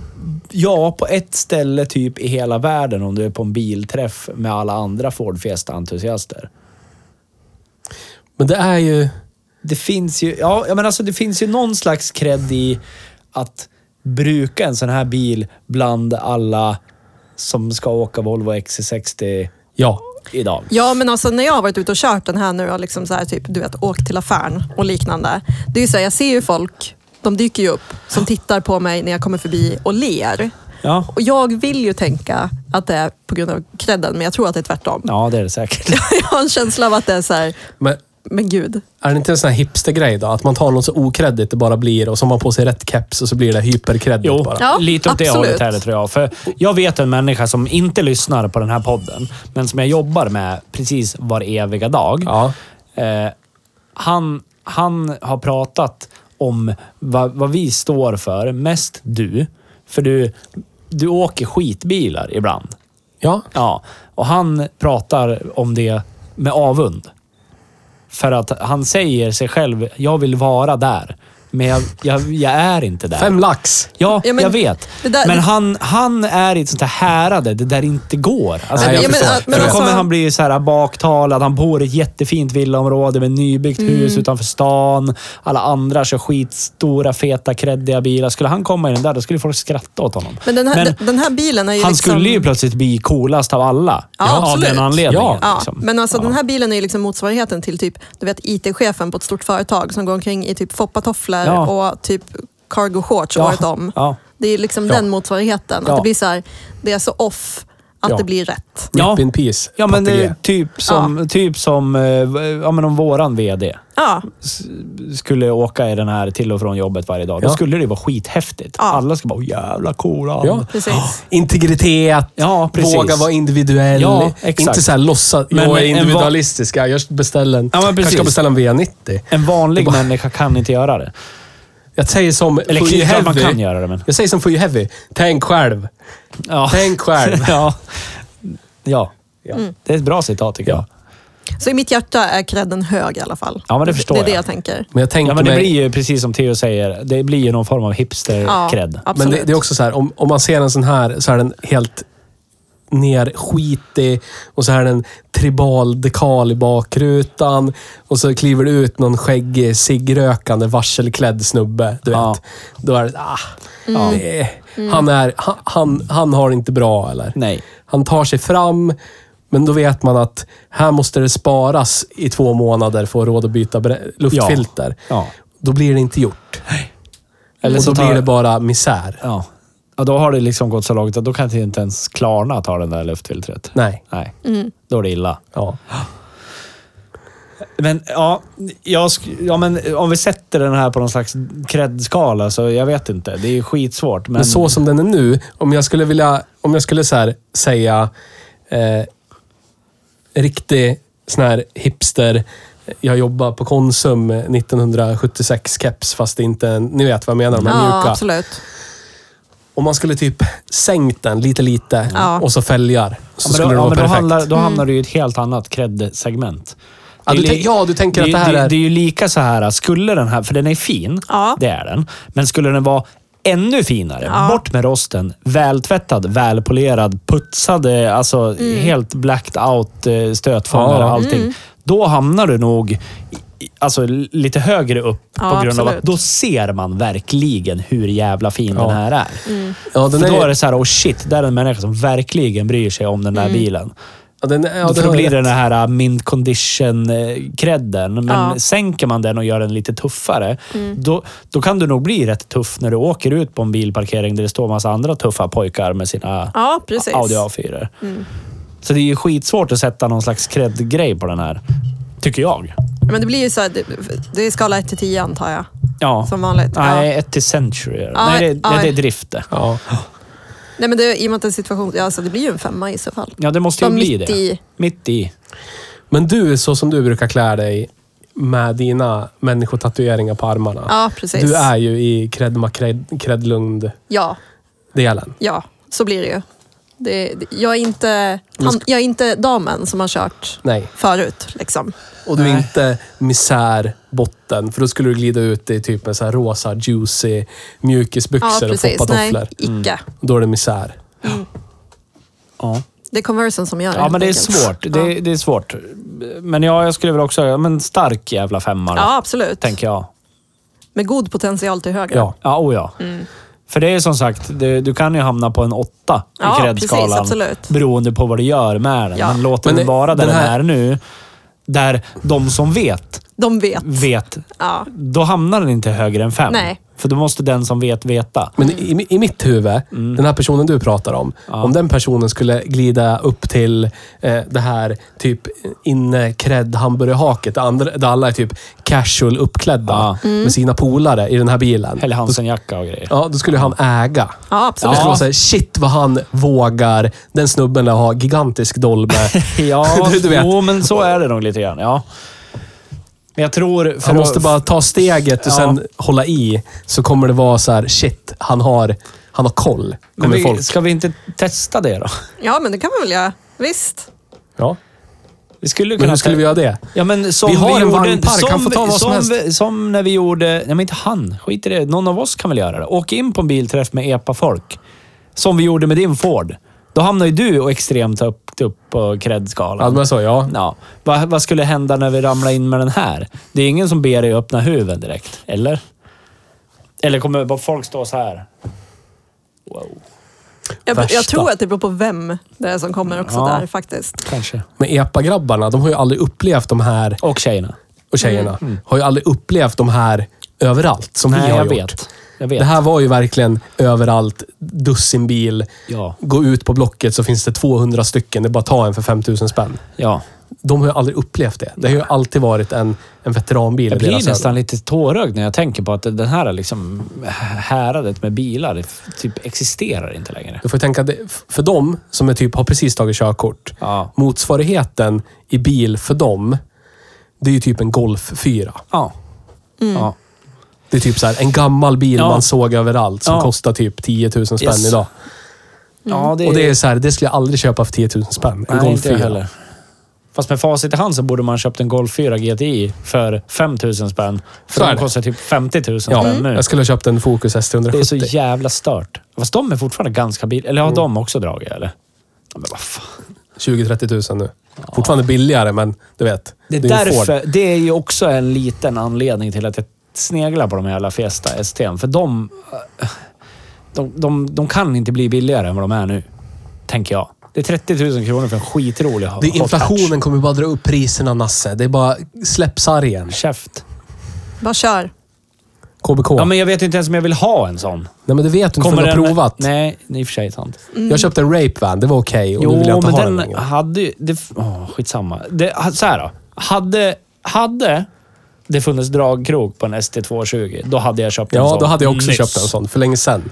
Speaker 4: ja, på ett ställe typ i hela världen om du är på en bilträff med alla andra Ford Fiesta-entusiaster.
Speaker 2: men det är ju...
Speaker 4: Det finns ju, ja, ja, men alltså, det finns ju någon slags cred i att bruka en sån här bil bland alla som ska åka Volvo XC60
Speaker 2: Ja.
Speaker 4: idag.
Speaker 3: Ja, men alltså när jag har varit ute och kört den här nu och liksom så här, typ, du vet, åkt till affären och liknande. Det är ju så här, jag ser ju folk, de dyker ju upp, som tittar på mig när jag kommer förbi och ler.
Speaker 4: Ja,
Speaker 3: Och jag vill ju tänka att det är på grund av credden, men jag tror att det är tvärtom.
Speaker 4: ja det är det säkert.
Speaker 3: <laughs> Jag har en känsla av att det är så här,
Speaker 2: Men
Speaker 3: men gud.
Speaker 2: är det inte en sån här hipstergrej då? Att man tar något så okreddigt det bara blir och så har man på sig rätt keps och så blir det hyperkreddigt
Speaker 4: Jo,
Speaker 2: bara.
Speaker 3: Ja,
Speaker 4: lite åt det
Speaker 3: absolut.
Speaker 4: hållet är det tror jag. För jag vet en människa som inte lyssnar på den här podden, men som jag jobbar med precis var eviga dag.
Speaker 2: Ja.
Speaker 4: Eh, han, han har pratat om vad, vad vi står för, mest du. För du, du åker skitbilar ibland.
Speaker 2: Ja.
Speaker 4: Ja, och han pratar om det med avund. För att han säger sig själv, jag vill vara där. Men jag, jag, jag är inte där.
Speaker 2: Fem lax.
Speaker 4: Ja,
Speaker 3: Ja, men
Speaker 4: jag vet.
Speaker 3: det där-
Speaker 4: men han, han är i ett sånt här härade det där det inte går. Alltså,
Speaker 2: Nej,
Speaker 4: det-
Speaker 2: jag
Speaker 4: för
Speaker 2: förstår.
Speaker 3: men
Speaker 4: då
Speaker 3: alltså-
Speaker 4: kommer han bli så här baktalad. Han bor i ett jättefint villaområde med nybyggt
Speaker 3: Mm.
Speaker 4: hus utanför stan. Alla andra kör skitstora, feta, kreddiga bilar. Skulle han komma i den där, då skulle folk skratta åt honom.
Speaker 3: Men den här, den- den här bilen är ju
Speaker 4: han
Speaker 3: liksom...
Speaker 4: skulle ju plötsligt bli coolast av alla.
Speaker 3: Ja,
Speaker 4: av
Speaker 3: absolut.
Speaker 4: den anledningen.
Speaker 2: Ja.
Speaker 3: Ja,
Speaker 4: liksom.
Speaker 3: men alltså
Speaker 4: Ja.
Speaker 3: den här bilen är ju liksom motsvarigheten till typ, du vet IT-chefen på ett stort företag som går omkring i typ foppatofflor
Speaker 4: Ja.
Speaker 3: och typ cargo shorts
Speaker 4: Ja,
Speaker 3: året om.
Speaker 4: ja.
Speaker 3: Det är liksom
Speaker 2: Ja.
Speaker 3: den motsvarigheten.
Speaker 4: Ja.
Speaker 3: Att det blir så här, det är så off att
Speaker 2: Ja.
Speaker 3: det blir rätt.
Speaker 2: Rip
Speaker 4: Ja.
Speaker 2: in peace.
Speaker 4: Ja, men eh, det
Speaker 2: Patte G.
Speaker 4: är typ som, typ som eh, ja, men om våran VD.
Speaker 3: Ja,
Speaker 4: s- skulle åka i den här till och från jobbet varje dag, då
Speaker 2: Ja.
Speaker 4: skulle det ju vara skithäftigt.
Speaker 3: Ja.
Speaker 4: Alla ska bara “jävla coola”.
Speaker 2: Ja.
Speaker 3: precis.
Speaker 2: Integritet.
Speaker 4: eh, Ja, precis.
Speaker 2: Våga vara individuell.
Speaker 4: Ja, exakt.
Speaker 2: Inte så här låtsas.
Speaker 4: Men
Speaker 2: jag är
Speaker 4: en va-
Speaker 2: individualistisk. Jag just beställer en,
Speaker 4: Ja, men precis.
Speaker 2: kanske ska beställa en V90.
Speaker 4: En vanlig människa kan inte göra det.
Speaker 2: Jag säger som
Speaker 4: Eller
Speaker 2: For You
Speaker 4: klart man
Speaker 2: Heavy.
Speaker 4: kan göra det, men...
Speaker 2: Jag säger som For You Heavy. Tänk själv.
Speaker 4: Ja.
Speaker 2: Tänk själv.
Speaker 4: <laughs> ja. ja. Mm. Det är ett bra citat tycker jag.
Speaker 3: Så i mitt hjärta är credden hög i alla fall.
Speaker 4: Ja, men det förstår
Speaker 3: Det är det
Speaker 4: jag.
Speaker 3: jag tänker.
Speaker 2: Men jag tänker
Speaker 4: Ja, men det
Speaker 2: mig...
Speaker 4: blir ju precis som Theo säger, det blir ju någon form av hipster-cred.
Speaker 3: Ja.
Speaker 2: Men det,
Speaker 3: Absolut.
Speaker 2: det är också så här, om, om man ser en sån här så är den helt nerskitig och så är den tribal dekal i bakrutan och så kliver det ut någon skäggig, ciggrökande, varselklädd snubbe. Du vet.
Speaker 4: Ja. Mm.
Speaker 2: Då är det... Ah, det är- han, är, han, han, han har det inte bra, eller?
Speaker 4: Nej.
Speaker 2: Han tar sig fram, men då vet man att här måste det sparas i två månader för att ha råd att byta bre- luftfilter.
Speaker 4: Ja.
Speaker 2: Då blir det inte gjort.
Speaker 4: Eller
Speaker 2: och
Speaker 4: så
Speaker 2: då
Speaker 4: tar-
Speaker 2: blir det bara misär.
Speaker 4: Ja. ja. Då har det liksom gått så långt att då kan det inte ens Klarna ta den där luftfiltret.
Speaker 2: Nej.
Speaker 4: Nej.
Speaker 3: Mm.
Speaker 4: Då är det illa.
Speaker 2: Ja.
Speaker 4: Men ja, jag sk- ja men, om vi sätter den här på någon slags cred-skala så jag vet inte. Det är ju skitsvårt. Men,
Speaker 2: Men så som den är nu, om jag skulle vilja, om jag skulle så här säga eh, riktig sån här hipster, jag jobbar på Konsum 1976 keps fast det inte, är en- ni vet vad jag menar, de här
Speaker 3: Ja,
Speaker 2: mjuka.
Speaker 3: absolut.
Speaker 2: Om man skulle typ sänkt den lite, lite
Speaker 3: Ja.
Speaker 2: och så fälgar. Så
Speaker 4: ja, men
Speaker 2: skulle
Speaker 4: då,
Speaker 2: det
Speaker 4: ja,
Speaker 2: vara
Speaker 4: men då,
Speaker 2: perfekt.
Speaker 4: hamnar, då hamnar du i ett
Speaker 3: Mm.
Speaker 4: helt annat cred-segment.
Speaker 2: Ja,
Speaker 4: Det
Speaker 2: du
Speaker 4: är li-
Speaker 2: tänk- ja, du tänker
Speaker 4: det,
Speaker 2: att det här
Speaker 4: det,
Speaker 2: är-
Speaker 4: Det är ju lika så här, skulle den här, för den är fin,
Speaker 3: Ja.
Speaker 4: det är den. Men skulle den vara ännu finare,
Speaker 3: Ja.
Speaker 4: bort med rosten, vältvättad, välpolerad, putsade, alltså
Speaker 3: Mm.
Speaker 4: helt blacked out, eh, stötfångare,
Speaker 2: Ja.
Speaker 4: allting. Då hamnar du nog i- i- Alltså lite högre upp
Speaker 3: Ja,
Speaker 4: på grund av att
Speaker 3: absolut.
Speaker 4: då ser man verkligen hur jävla fin
Speaker 2: Ja.
Speaker 4: den här är.
Speaker 3: Mm.
Speaker 2: Ja, den
Speaker 4: För då
Speaker 2: är-
Speaker 4: är det så här, oh shit, där är en människa som verkligen bryr sig om den där
Speaker 3: Mm.
Speaker 4: bilen.
Speaker 2: Ja, den, ja, den
Speaker 4: För då
Speaker 2: har
Speaker 4: blir det
Speaker 2: rätt.
Speaker 4: den här ah, mint condition-credden. Men
Speaker 3: Ja. Mm.
Speaker 4: sänker man den och gör den lite tuffare, då, då kan du nog bli rätt tuff när du åker ut på en bilparkering där det står massa andra tuffa pojkar med sina
Speaker 3: Ja, precis. Mm.
Speaker 4: Audi A4. Så det är ju skitsvårt att sätta någon slags cred-grej på den här. Tycker jag.
Speaker 3: Men det blir ju så här, det, det är skala 1 till 10 antar jag.
Speaker 4: Ja.
Speaker 3: Som vanligt, ja.
Speaker 4: Nej, ett till Century.
Speaker 3: Ja,
Speaker 4: nej, det,
Speaker 3: ja.
Speaker 4: nej, det är drift det.
Speaker 2: Ja.
Speaker 3: Nej, men det, i och med att det är situation, ja, alltså, det blir ju en femma i så fall.
Speaker 4: Ja, det måste ju
Speaker 3: Som
Speaker 4: bli
Speaker 3: mitt
Speaker 4: det.
Speaker 3: i.
Speaker 4: Mitt i.
Speaker 2: Men du, så som du brukar klä dig med dina människotatueringar på armarna.
Speaker 3: Ja, precis.
Speaker 2: Du är ju i Kredlund
Speaker 3: Ja,
Speaker 2: delen
Speaker 3: ja, så blir det ju. Det, det- jag, är inte, han, jag är inte damen som har kört
Speaker 2: Nej.
Speaker 3: förut. Liksom.
Speaker 2: Och du är
Speaker 4: Nej.
Speaker 2: inte misär botten, för då skulle du glida ut i typ en så här rosa, juicy
Speaker 3: Ja,
Speaker 2: mjukisbyxor och
Speaker 3: precis. Nej,
Speaker 2: foppatofflor.
Speaker 4: Mm.
Speaker 3: icke.
Speaker 2: Då är det misär.
Speaker 4: Ja.
Speaker 3: Det är conversen som gör det.
Speaker 4: Ja, men det är
Speaker 3: helt enkelt.
Speaker 4: svårt. Det,
Speaker 3: Ja,
Speaker 4: det är svårt. Men ja, jag skulle väl också... ja, Men stark jävla femma då,
Speaker 3: ja absolut.
Speaker 4: tänker jag.
Speaker 3: Med god potential till höger.
Speaker 2: Ja.
Speaker 4: Ja, oh ja.
Speaker 3: Mm.
Speaker 4: För det är som sagt, det, du kan ju hamna på en åtta i
Speaker 3: Ja, precis,
Speaker 4: kreddskalan.
Speaker 3: absolut.
Speaker 4: Beroende på vad du gör med den.
Speaker 3: Ja.
Speaker 4: Men låt
Speaker 2: Men
Speaker 4: den
Speaker 2: det-
Speaker 4: vara där
Speaker 2: den
Speaker 4: den
Speaker 2: här-
Speaker 4: är nu. Där de som vet,
Speaker 3: De vet.
Speaker 4: vet.
Speaker 3: Ja.
Speaker 4: Då hamnar den inte högre än fem.
Speaker 3: Nej.
Speaker 4: För då måste den som vet veta.
Speaker 2: Men i, i mitt huvud,
Speaker 4: Mm.
Speaker 2: den här personen du pratar om, om den personen skulle glida upp till eh, det här typ inne cred hamburgerhaket där, andra, där alla är typ casual uppklädda
Speaker 4: Ja.
Speaker 3: Mm.
Speaker 2: med sina polare i den här bilen.
Speaker 4: Eller Hansen-jacka och grejer.
Speaker 2: Ja, då skulle han äga.
Speaker 3: Ja,
Speaker 2: Det
Speaker 3: absolut.
Speaker 2: skulle vara såhär, shit vad han vågar. Den snubben där har gigantisk
Speaker 4: <laughs>
Speaker 2: dolme.
Speaker 4: Ja,
Speaker 2: <laughs> Du- du vet.
Speaker 4: jo, men så är det nog lite grann. Ja. Men jag tror... För
Speaker 2: Han måste
Speaker 4: att-
Speaker 2: bara ta steget och
Speaker 4: Ja.
Speaker 2: sen hålla i. Så kommer det vara så här: shit, han har, han har koll.
Speaker 4: Men
Speaker 2: Kommer
Speaker 4: vi,
Speaker 2: folk.
Speaker 4: Ska vi inte testa det då?
Speaker 3: Ja, men det kan man väl göra. Visst.
Speaker 2: Ja.
Speaker 4: Vi skulle kunna
Speaker 2: Men hur skulle vi göra det?
Speaker 4: Ja, men som
Speaker 2: Vi har en
Speaker 4: gjorde,
Speaker 2: vagnpark,
Speaker 4: som,
Speaker 2: han får ta vad som
Speaker 4: som, helst. Som när vi gjorde... Nej, men inte han. Skit i det. Någon av oss kan väl göra det. Åk in på en bilträff med EPA-folk. Som vi gjorde med din Ford. Då hamnar ju du och extremt högt upp på
Speaker 2: Ja,
Speaker 4: kreddskalan.
Speaker 2: men så, ja.
Speaker 4: Ja. Vad, vad skulle hända när vi ramlar in med den här? Det är ingen som ber dig öppna huven direkt, eller? Eller kommer bara folk stå så här? Wow,
Speaker 3: Jag, jag
Speaker 2: Värsta.
Speaker 3: tror att det beror på vem det är som kommer också
Speaker 4: Ja.
Speaker 3: där faktiskt.
Speaker 4: kanske.
Speaker 2: Men EPA-grabbarna, de har ju aldrig upplevt de här,
Speaker 4: Och tjejerna.
Speaker 2: och tjejerna, har ju aldrig upplevt de här överallt som
Speaker 4: Mm. Nej,
Speaker 2: vi har
Speaker 4: jag
Speaker 2: gjort.
Speaker 4: vet. Jag vet.
Speaker 2: Det här var ju verkligen överallt, dussinbil.
Speaker 4: Ja.
Speaker 2: Gå ut på Blocket så finns det 200 stycken. Det är bara att ta en för 5000 spänn.
Speaker 4: Ja.
Speaker 2: de har ju aldrig upplevt det. Det har ju alltid varit en, en veteranbil. i
Speaker 4: Jag blir
Speaker 2: deras
Speaker 4: nästan
Speaker 2: ögon.
Speaker 4: lite tårögd när jag tänker på att det här liksom häradet med bilar det f- typ existerar inte längre.
Speaker 2: Du får tänka, att det- för dem som är typ har precis tagit körkort,
Speaker 4: Ja.
Speaker 2: motsvarigheten i bil för dem, det är ju typ en Golf 4.
Speaker 4: Ja. Mm. ja.
Speaker 2: Det är typ så här, en gammal bil
Speaker 4: Ja.
Speaker 2: man såg överallt som
Speaker 4: Ja.
Speaker 2: kostar typ 10 000 spänn
Speaker 4: Yes.
Speaker 2: idag.
Speaker 4: ja Mm. det
Speaker 2: Och det är så här, det skulle jag aldrig köpa för 10 000 spänn. En
Speaker 4: Nej,
Speaker 2: Golf
Speaker 4: inte jag
Speaker 2: 4.
Speaker 4: heller. Fast med facit i hand så borde man ha köpt en Golf 4 GTI för 5 000 spänn. För
Speaker 2: Så är
Speaker 4: den
Speaker 2: det.
Speaker 4: kostar typ 50 000
Speaker 2: Ja,
Speaker 4: spänn nu.
Speaker 2: jag skulle ha köpt en Focus S370.
Speaker 4: Mm. Det är så jävla stört. Fast de är fortfarande ganska bil... Eller har de också dragit eller? Ja, Men vad fan.
Speaker 2: 20-30 000 nu. Fortfarande billigare, men du vet.
Speaker 4: Det är,
Speaker 2: ju en Ford.
Speaker 4: därför, det är ju också en liten anledning till att jag sneglar på de här jävla Fiesta ST'n. För de, eh, de, de, de kan inte bli billigare än vad de är nu. Tänker jag. Det är 30 000 kronor för en
Speaker 2: Det
Speaker 4: skitrolig
Speaker 2: är
Speaker 4: hot hatch.
Speaker 2: inflationen kommer bara dra upp priserna, Nasse. Det är bara släpp sargen.
Speaker 4: Käft.
Speaker 3: Bara kör.
Speaker 2: KBK.
Speaker 4: Ja, men jag vet inte ens om jag vill ha en sån.
Speaker 2: Nej, men det vet du inte
Speaker 4: Kommer
Speaker 2: för du har
Speaker 4: den-
Speaker 2: provat.
Speaker 4: Nej, det är i och för sig sant.
Speaker 2: Jag köpte en Rape Van, det var okej och nu
Speaker 4: Jo,
Speaker 2: vill jag inte
Speaker 4: men
Speaker 2: ha
Speaker 4: den, ah.
Speaker 2: den, längre.
Speaker 4: hade ju... Det, åh, skitsamma. Det, så här då. Hade, hade det funnits dragkrok på en ST220, då hade jag köpt en
Speaker 2: Ja,
Speaker 4: sån.
Speaker 2: då hade jag också
Speaker 4: nyss.
Speaker 2: köpt en sån för länge sedan.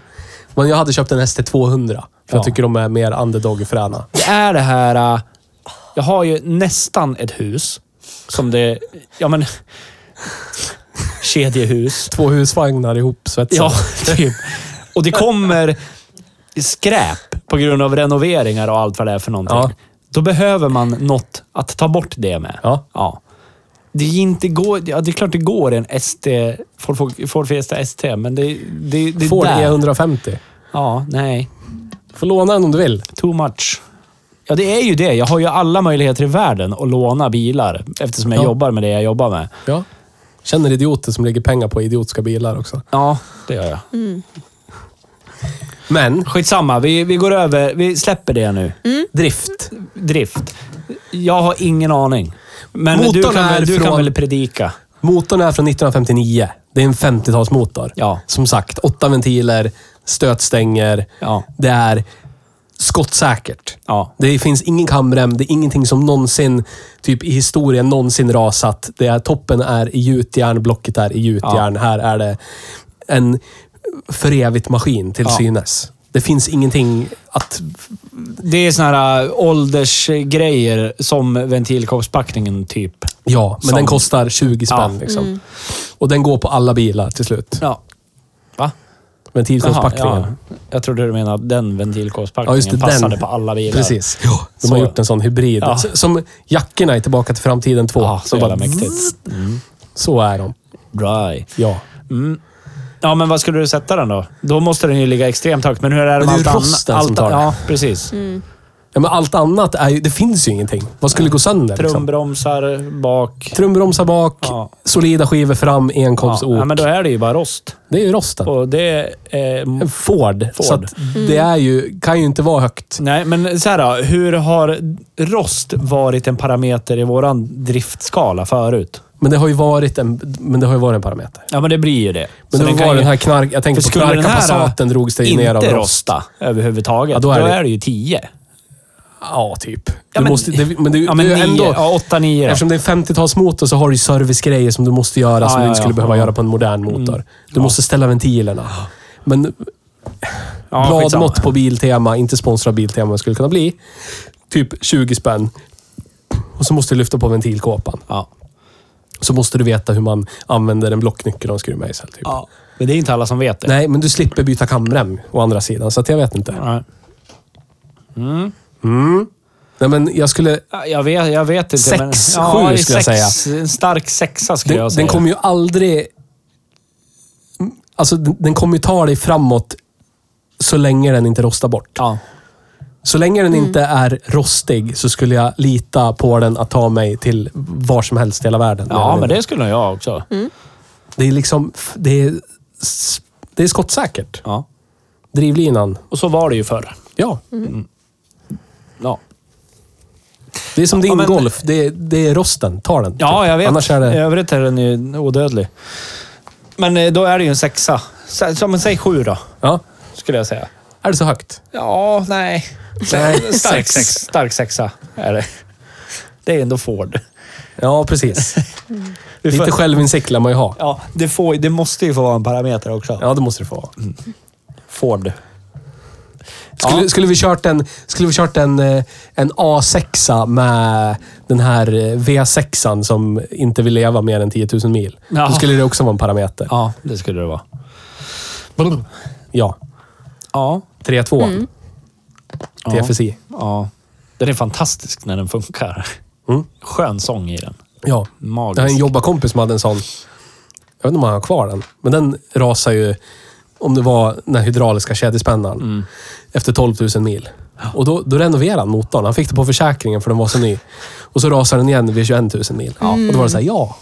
Speaker 2: Men jag hade köpt en ST200. För
Speaker 4: Ja.
Speaker 2: jag tycker de är mer underdog-fräna.
Speaker 4: Det är det här... äh, Jag har ju nästan ett hus som det... Ja, men... Kedjehus.
Speaker 2: Två husvagnar ihop svetsade.
Speaker 4: Ja, typ. Och det kommer skräp på grund av renoveringar och allt vad det är för någonting.
Speaker 2: Ja.
Speaker 4: Då behöver man något att ta bort det med.
Speaker 2: Ja.
Speaker 4: Det är inte går, ja, det är klart det går i en ST, Ford, Fo- Ford Fiesta ST, men det, det, det är
Speaker 2: Ford
Speaker 4: där.
Speaker 2: E150.
Speaker 4: Ja, nej.
Speaker 2: Får låna den om du vill.
Speaker 4: Too much. Ja, det är ju det. Jag har ju alla möjligheter i världen att låna bilar eftersom jag
Speaker 2: Ja.
Speaker 4: jobbar med det jag jobbar med.
Speaker 2: Ja. Känner idioter som lägger pengar på idiotiska bilar också.
Speaker 4: Ja, det gör jag.
Speaker 2: Men,
Speaker 4: Skitsamma, vi, vi går över. Vi släpper det nu.
Speaker 2: Mm. drift.
Speaker 4: Drift. Jag har ingen aning. Men
Speaker 2: Motorn
Speaker 4: du, kan,
Speaker 2: är
Speaker 4: väl- du kan
Speaker 2: från-
Speaker 4: väl predika?
Speaker 2: Motorn är från 1959. Det är en 50-talsmotor.
Speaker 4: Ja.
Speaker 2: Som sagt, åtta ventiler, stötstänger.
Speaker 4: Ja.
Speaker 2: Det är skottsäkert.
Speaker 4: Ja.
Speaker 2: Det finns ingen kamrem, det är ingenting som någonsin, typ i historien, någonsin rasat. Det är, toppen är i gjutjärn, blocket är i gjutjärn. Här är det en för evigt maskin till
Speaker 4: Ja.
Speaker 2: synes. Det finns ingenting att...
Speaker 4: Det är såna här äh, åldersgrejer som ventilkoppspackningen typ.
Speaker 2: Ja, men
Speaker 4: Som-
Speaker 2: den kostar 20 spänn.
Speaker 4: Ja. Mm.
Speaker 2: Liksom. Och den går på alla bilar till slut.
Speaker 4: Ja. Va?
Speaker 2: Ventilkorspackningen.
Speaker 4: Jaha, ja. Jag trodde du menade att den ventilkoppspackningen
Speaker 2: Ja, just det.
Speaker 4: passade
Speaker 2: Den.
Speaker 4: på alla bilar.
Speaker 2: Precis. De
Speaker 4: Så.
Speaker 2: har gjort en sån hybrid.
Speaker 4: Ja.
Speaker 2: S- Som jackorna i Tillbaka till framtiden 2.
Speaker 4: Ja, så
Speaker 2: De
Speaker 4: jävla
Speaker 2: bara-
Speaker 4: mäktigt. Mm.
Speaker 2: Så är de.
Speaker 4: Dry.
Speaker 2: Ja.
Speaker 4: Ja, men vad skulle du sätta den då? Då måste den ju ligga extremt högt. Men hur är det
Speaker 2: Men det är
Speaker 4: med allt
Speaker 2: ju
Speaker 4: annat?
Speaker 2: rosten som tar det.
Speaker 4: Ja, precis.
Speaker 2: ja men allt annat är ju... Det finns ju ingenting. Vad skulle gå sönder? Liksom?
Speaker 4: Trumbromsar bak.
Speaker 2: Trumbromsar bak,
Speaker 4: Ja.
Speaker 2: solida skivor fram,
Speaker 4: Ja.
Speaker 2: enkomstok.
Speaker 4: ja, men då är det ju bara rost.
Speaker 2: Det är ju rosten.
Speaker 4: Och det... Eh,
Speaker 2: En Ford.
Speaker 4: Ford.
Speaker 2: Så att det är ju, kan ju inte vara högt.
Speaker 4: nej, men så här då, Hur har rost varit en parameter i våran driftskala förut?
Speaker 2: Men det har ju varit en, men det har ju varit en parameter.
Speaker 4: Ja, men det blir ju det.
Speaker 2: Men
Speaker 4: Så
Speaker 2: det
Speaker 4: kan
Speaker 2: var
Speaker 4: ju-
Speaker 2: den här knark... Jag
Speaker 4: För
Speaker 2: tänkte på
Speaker 4: skulle den här
Speaker 2: knarkarpassaten drogs det ju ner av
Speaker 4: inte
Speaker 2: rost.
Speaker 4: rosta överhuvudtaget,
Speaker 2: Ja,
Speaker 4: då,
Speaker 2: då
Speaker 4: är,
Speaker 2: är
Speaker 4: det...
Speaker 2: det-
Speaker 4: ju 10.
Speaker 2: Ja, typ.
Speaker 4: Ja,
Speaker 2: du
Speaker 4: men-
Speaker 2: måste, det, men det,
Speaker 4: Ja,
Speaker 2: det
Speaker 4: men
Speaker 2: är ju
Speaker 4: 9.
Speaker 2: ändå...
Speaker 4: Ja, 8, 9
Speaker 2: Eftersom det är en 50-talsmotor så har du ju servicegrejer som du måste göra
Speaker 4: Ja,
Speaker 2: som
Speaker 4: ja,
Speaker 2: du inte skulle
Speaker 4: ja. Mm.
Speaker 2: behöva
Speaker 4: Ja.
Speaker 2: göra på en modern motor. Du måste ställa ventilerna. Men
Speaker 4: Ja, skitsamma.
Speaker 2: bladmått på Biltema, inte sponsrad Biltema, men skulle kunna bli. Typ 20 spänn. Och så måste du lyfta på ventilkåpan.
Speaker 4: Ja.
Speaker 2: Så måste du veta hur man använder en blocknyckel och en skruvmejsel. Typ.
Speaker 4: ja. Men det är inte alla som vet det.
Speaker 2: Nej, men du slipper byta kamrem å andra sidan, så att jag vet inte.
Speaker 4: Nej.
Speaker 2: Nej, men jag skulle...
Speaker 4: Ja, Jag vet, jag vet inte.
Speaker 2: Sex,
Speaker 4: men,
Speaker 2: sju
Speaker 4: det är
Speaker 2: skulle jag
Speaker 4: En stark sexa skulle
Speaker 2: Den,
Speaker 4: jag säga.
Speaker 2: den kommer ju aldrig... Alltså, den, den kommer ju ta dig framåt så länge den inte rostar bort.
Speaker 4: Ja.
Speaker 2: Så länge den inte är rostig så skulle jag lita på den att ta mig till var som helst i hela världen.
Speaker 4: ja, men det skulle nog jag också.
Speaker 2: Mm. Det är liksom... f- Det är, s- det är skottsäkert.
Speaker 4: Ja.
Speaker 2: Drivlinan.
Speaker 4: Och så var det ju förr.
Speaker 2: Ja.
Speaker 4: Mm. Ja,
Speaker 2: Det är som din
Speaker 4: men-
Speaker 2: golf. Det är, det är rosten. Ta den.
Speaker 4: ja jag vet.
Speaker 2: Annars är
Speaker 4: I
Speaker 2: det...
Speaker 4: övrigt är den ju odödlig. Men eh, då är det ju en sexa. Så, så, men säg sju då,
Speaker 2: Ja.
Speaker 4: skulle jag säga.
Speaker 2: Är det så högt?
Speaker 4: Ja, nej.
Speaker 2: Nej.
Speaker 4: Stark,
Speaker 2: Sex.
Speaker 4: stark sexa är det. Det är ändå Ford.
Speaker 2: Ja, precis.
Speaker 4: Du får,
Speaker 2: Lite självinsikt lär man ju ha.
Speaker 4: ja, det, får, det måste ju få vara en parameter också.
Speaker 2: Ja, det måste det få vara.
Speaker 4: Ford.
Speaker 2: Skulle, skulle vi kört en, skulle vi kört en, eh, en A6 med den här V6 som inte vill leva mer än 10 000 mil.
Speaker 4: Ja.
Speaker 2: Då skulle det också vara en parameter. Ja.
Speaker 4: Ja, det skulle det vara.
Speaker 2: ja.
Speaker 4: Ja,
Speaker 2: 3-2.
Speaker 4: Ja.
Speaker 2: TFSI.
Speaker 4: ja. Den är fantastisk när den funkar.
Speaker 2: Mm.
Speaker 4: Skön sång i den.
Speaker 2: Ja.
Speaker 4: Magisk.
Speaker 2: Jag har en jobbarkompis som hade en sån. Jag vet inte om han har kvar den. Men den rasar ju, om det var den här hydrauliska kedjespännaren,
Speaker 4: Mm.
Speaker 2: efter 12 000 mil. Och då, då renoverade han motorn. Han fick det på försäkringen för den var så ny. Och så rasar den igen vid 21 000 mil. Och då var det så här, ja.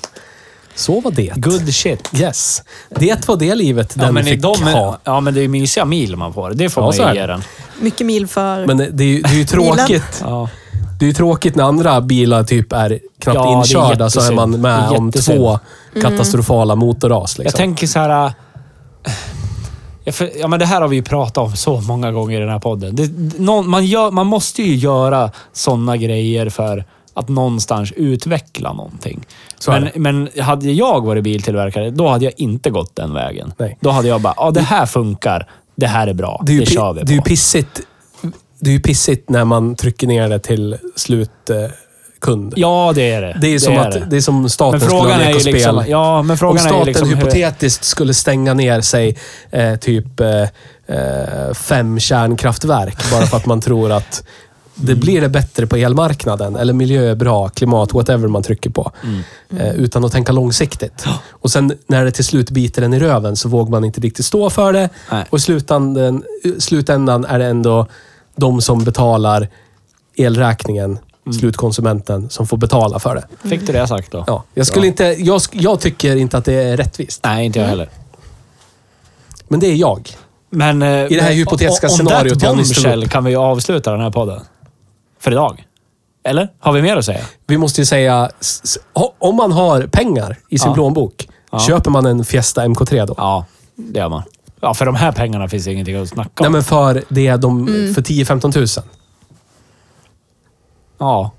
Speaker 2: Så var det.
Speaker 4: Good shit.
Speaker 2: Yes. Det var det livet
Speaker 4: Ja
Speaker 2: den
Speaker 4: men, i
Speaker 2: fick
Speaker 4: de,
Speaker 2: ha.
Speaker 4: ja, men det är ju mysiga mil man får. Det får
Speaker 2: Ja, så
Speaker 4: man
Speaker 2: är
Speaker 4: ju ge
Speaker 2: det.
Speaker 4: den.
Speaker 3: Mycket mil för...
Speaker 2: Men det, det är ju, det är ju tråkigt.
Speaker 4: Ja.
Speaker 2: Det är ju tråkigt när andra bilar typ är knappt
Speaker 4: Ja, det är
Speaker 2: inkörda så är
Speaker 4: jättesynd.
Speaker 2: man
Speaker 4: Det
Speaker 2: med
Speaker 4: är
Speaker 2: om
Speaker 4: jättesynd.
Speaker 2: två katastrofala motorras.
Speaker 4: Jag
Speaker 2: Liksom.
Speaker 4: tänker så här... äh, Ja, för, ja, men det här har vi ju pratat om så många gånger i den här podden. Det, det- någon, man, gör, man måste ju göra sådana grejer för att någonstans utveckla någonting.
Speaker 2: Så är
Speaker 4: Men, men hade jag varit biltillverkare, då hade jag inte gått den vägen.
Speaker 2: Nej.
Speaker 4: Då hade jag bara, ja det här funkar. Det här är bra.
Speaker 2: det är
Speaker 4: Det,
Speaker 2: ju, pi-
Speaker 4: kör vi
Speaker 2: det är ju
Speaker 4: på.
Speaker 2: pissigt. Det är ju pissigt när man trycker ner det till slutkund. Eh, kund.
Speaker 4: Ja, det är det.
Speaker 2: det, är som att,
Speaker 4: det.
Speaker 2: det är som staten
Speaker 4: Men
Speaker 2: skulle ha
Speaker 4: frågan är
Speaker 2: lek
Speaker 4: ju
Speaker 2: och spel.
Speaker 4: liksom... Ja, men
Speaker 2: Om
Speaker 4: frågan är
Speaker 2: staten
Speaker 4: ju liksom... hur-
Speaker 2: hypotetiskt skulle stänga ner sig eh, typ eh, eh, fem kärnkraftverk bara för att man tror att det blir det bättre på elmarknaden eller miljö är bra, klimat, whatever man trycker på. Eh, utan att tänka långsiktigt. Och sen när det till slut biter en i röven så vågar man inte riktigt stå för det.
Speaker 4: Nej.
Speaker 2: Och i slutändan, slutändan är det ändå de som betalar elräkningen, slutkonsumenten, som får betala för det.
Speaker 4: Fick du det sagt då?
Speaker 2: Ja, jag, skulle
Speaker 4: Bra.
Speaker 2: inte, jag, sk- jag tycker inte att det är rättvist.
Speaker 4: Nej, inte
Speaker 2: Mm.
Speaker 4: jag heller.
Speaker 2: Men det är jag.
Speaker 4: Men, I
Speaker 2: det här hypotetiska scenariot
Speaker 4: Om that
Speaker 2: jag nyss tog
Speaker 4: bombshell kan vi ju avsluta den här podden. För idag. Eller? Har vi mer att säga?
Speaker 2: Vi måste ju säga, s- s- o- om man har pengar i sin
Speaker 4: Ja.
Speaker 2: plånbok, köper man en Fiesta MK3 då?
Speaker 4: Ja, det gör man. Ja, för de här pengarna finns det ingenting att snacka
Speaker 2: Nej,
Speaker 4: om.
Speaker 2: men för, det är de,
Speaker 3: Mm.
Speaker 2: för 10-15 tusen.
Speaker 4: Ja,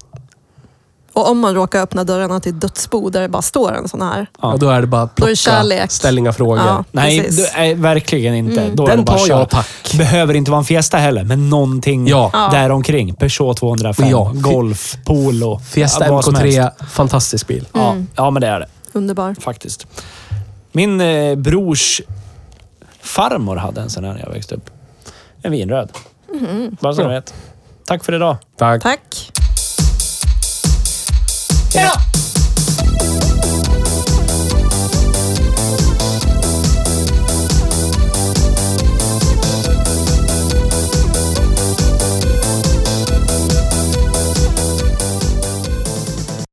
Speaker 3: Och om man råkar öppna dörrarna till dödsbo där det bara står en sån här.
Speaker 4: Ja.
Speaker 2: Ja. då är det bara
Speaker 3: Då är
Speaker 2: plocka,
Speaker 3: det kärlek.
Speaker 2: ställ inga frågor.
Speaker 3: Ja.
Speaker 4: Nej,
Speaker 3: Precis.
Speaker 4: du, nej, verkligen inte. Då är
Speaker 2: Den
Speaker 4: det bara
Speaker 2: tar
Speaker 4: kör.
Speaker 2: jag, tack.
Speaker 4: Behöver inte vara en Fiesta heller, men någonting
Speaker 2: Ja. Ja.
Speaker 4: däromkring. Peugeot 205,
Speaker 2: Men ja, fi-
Speaker 4: Golf, Polo.
Speaker 2: Fiesta
Speaker 4: ja, vad som helst.
Speaker 2: MK3, fantastisk bil.
Speaker 4: Ja, ja, men det är det.
Speaker 3: Underbar.
Speaker 4: faktiskt. Min eh, brors farmor hade en sån här när jag växte upp. En vinröd. Bara så du vet. Tack för idag.
Speaker 2: Tack.
Speaker 3: Tack.
Speaker 4: Hej då!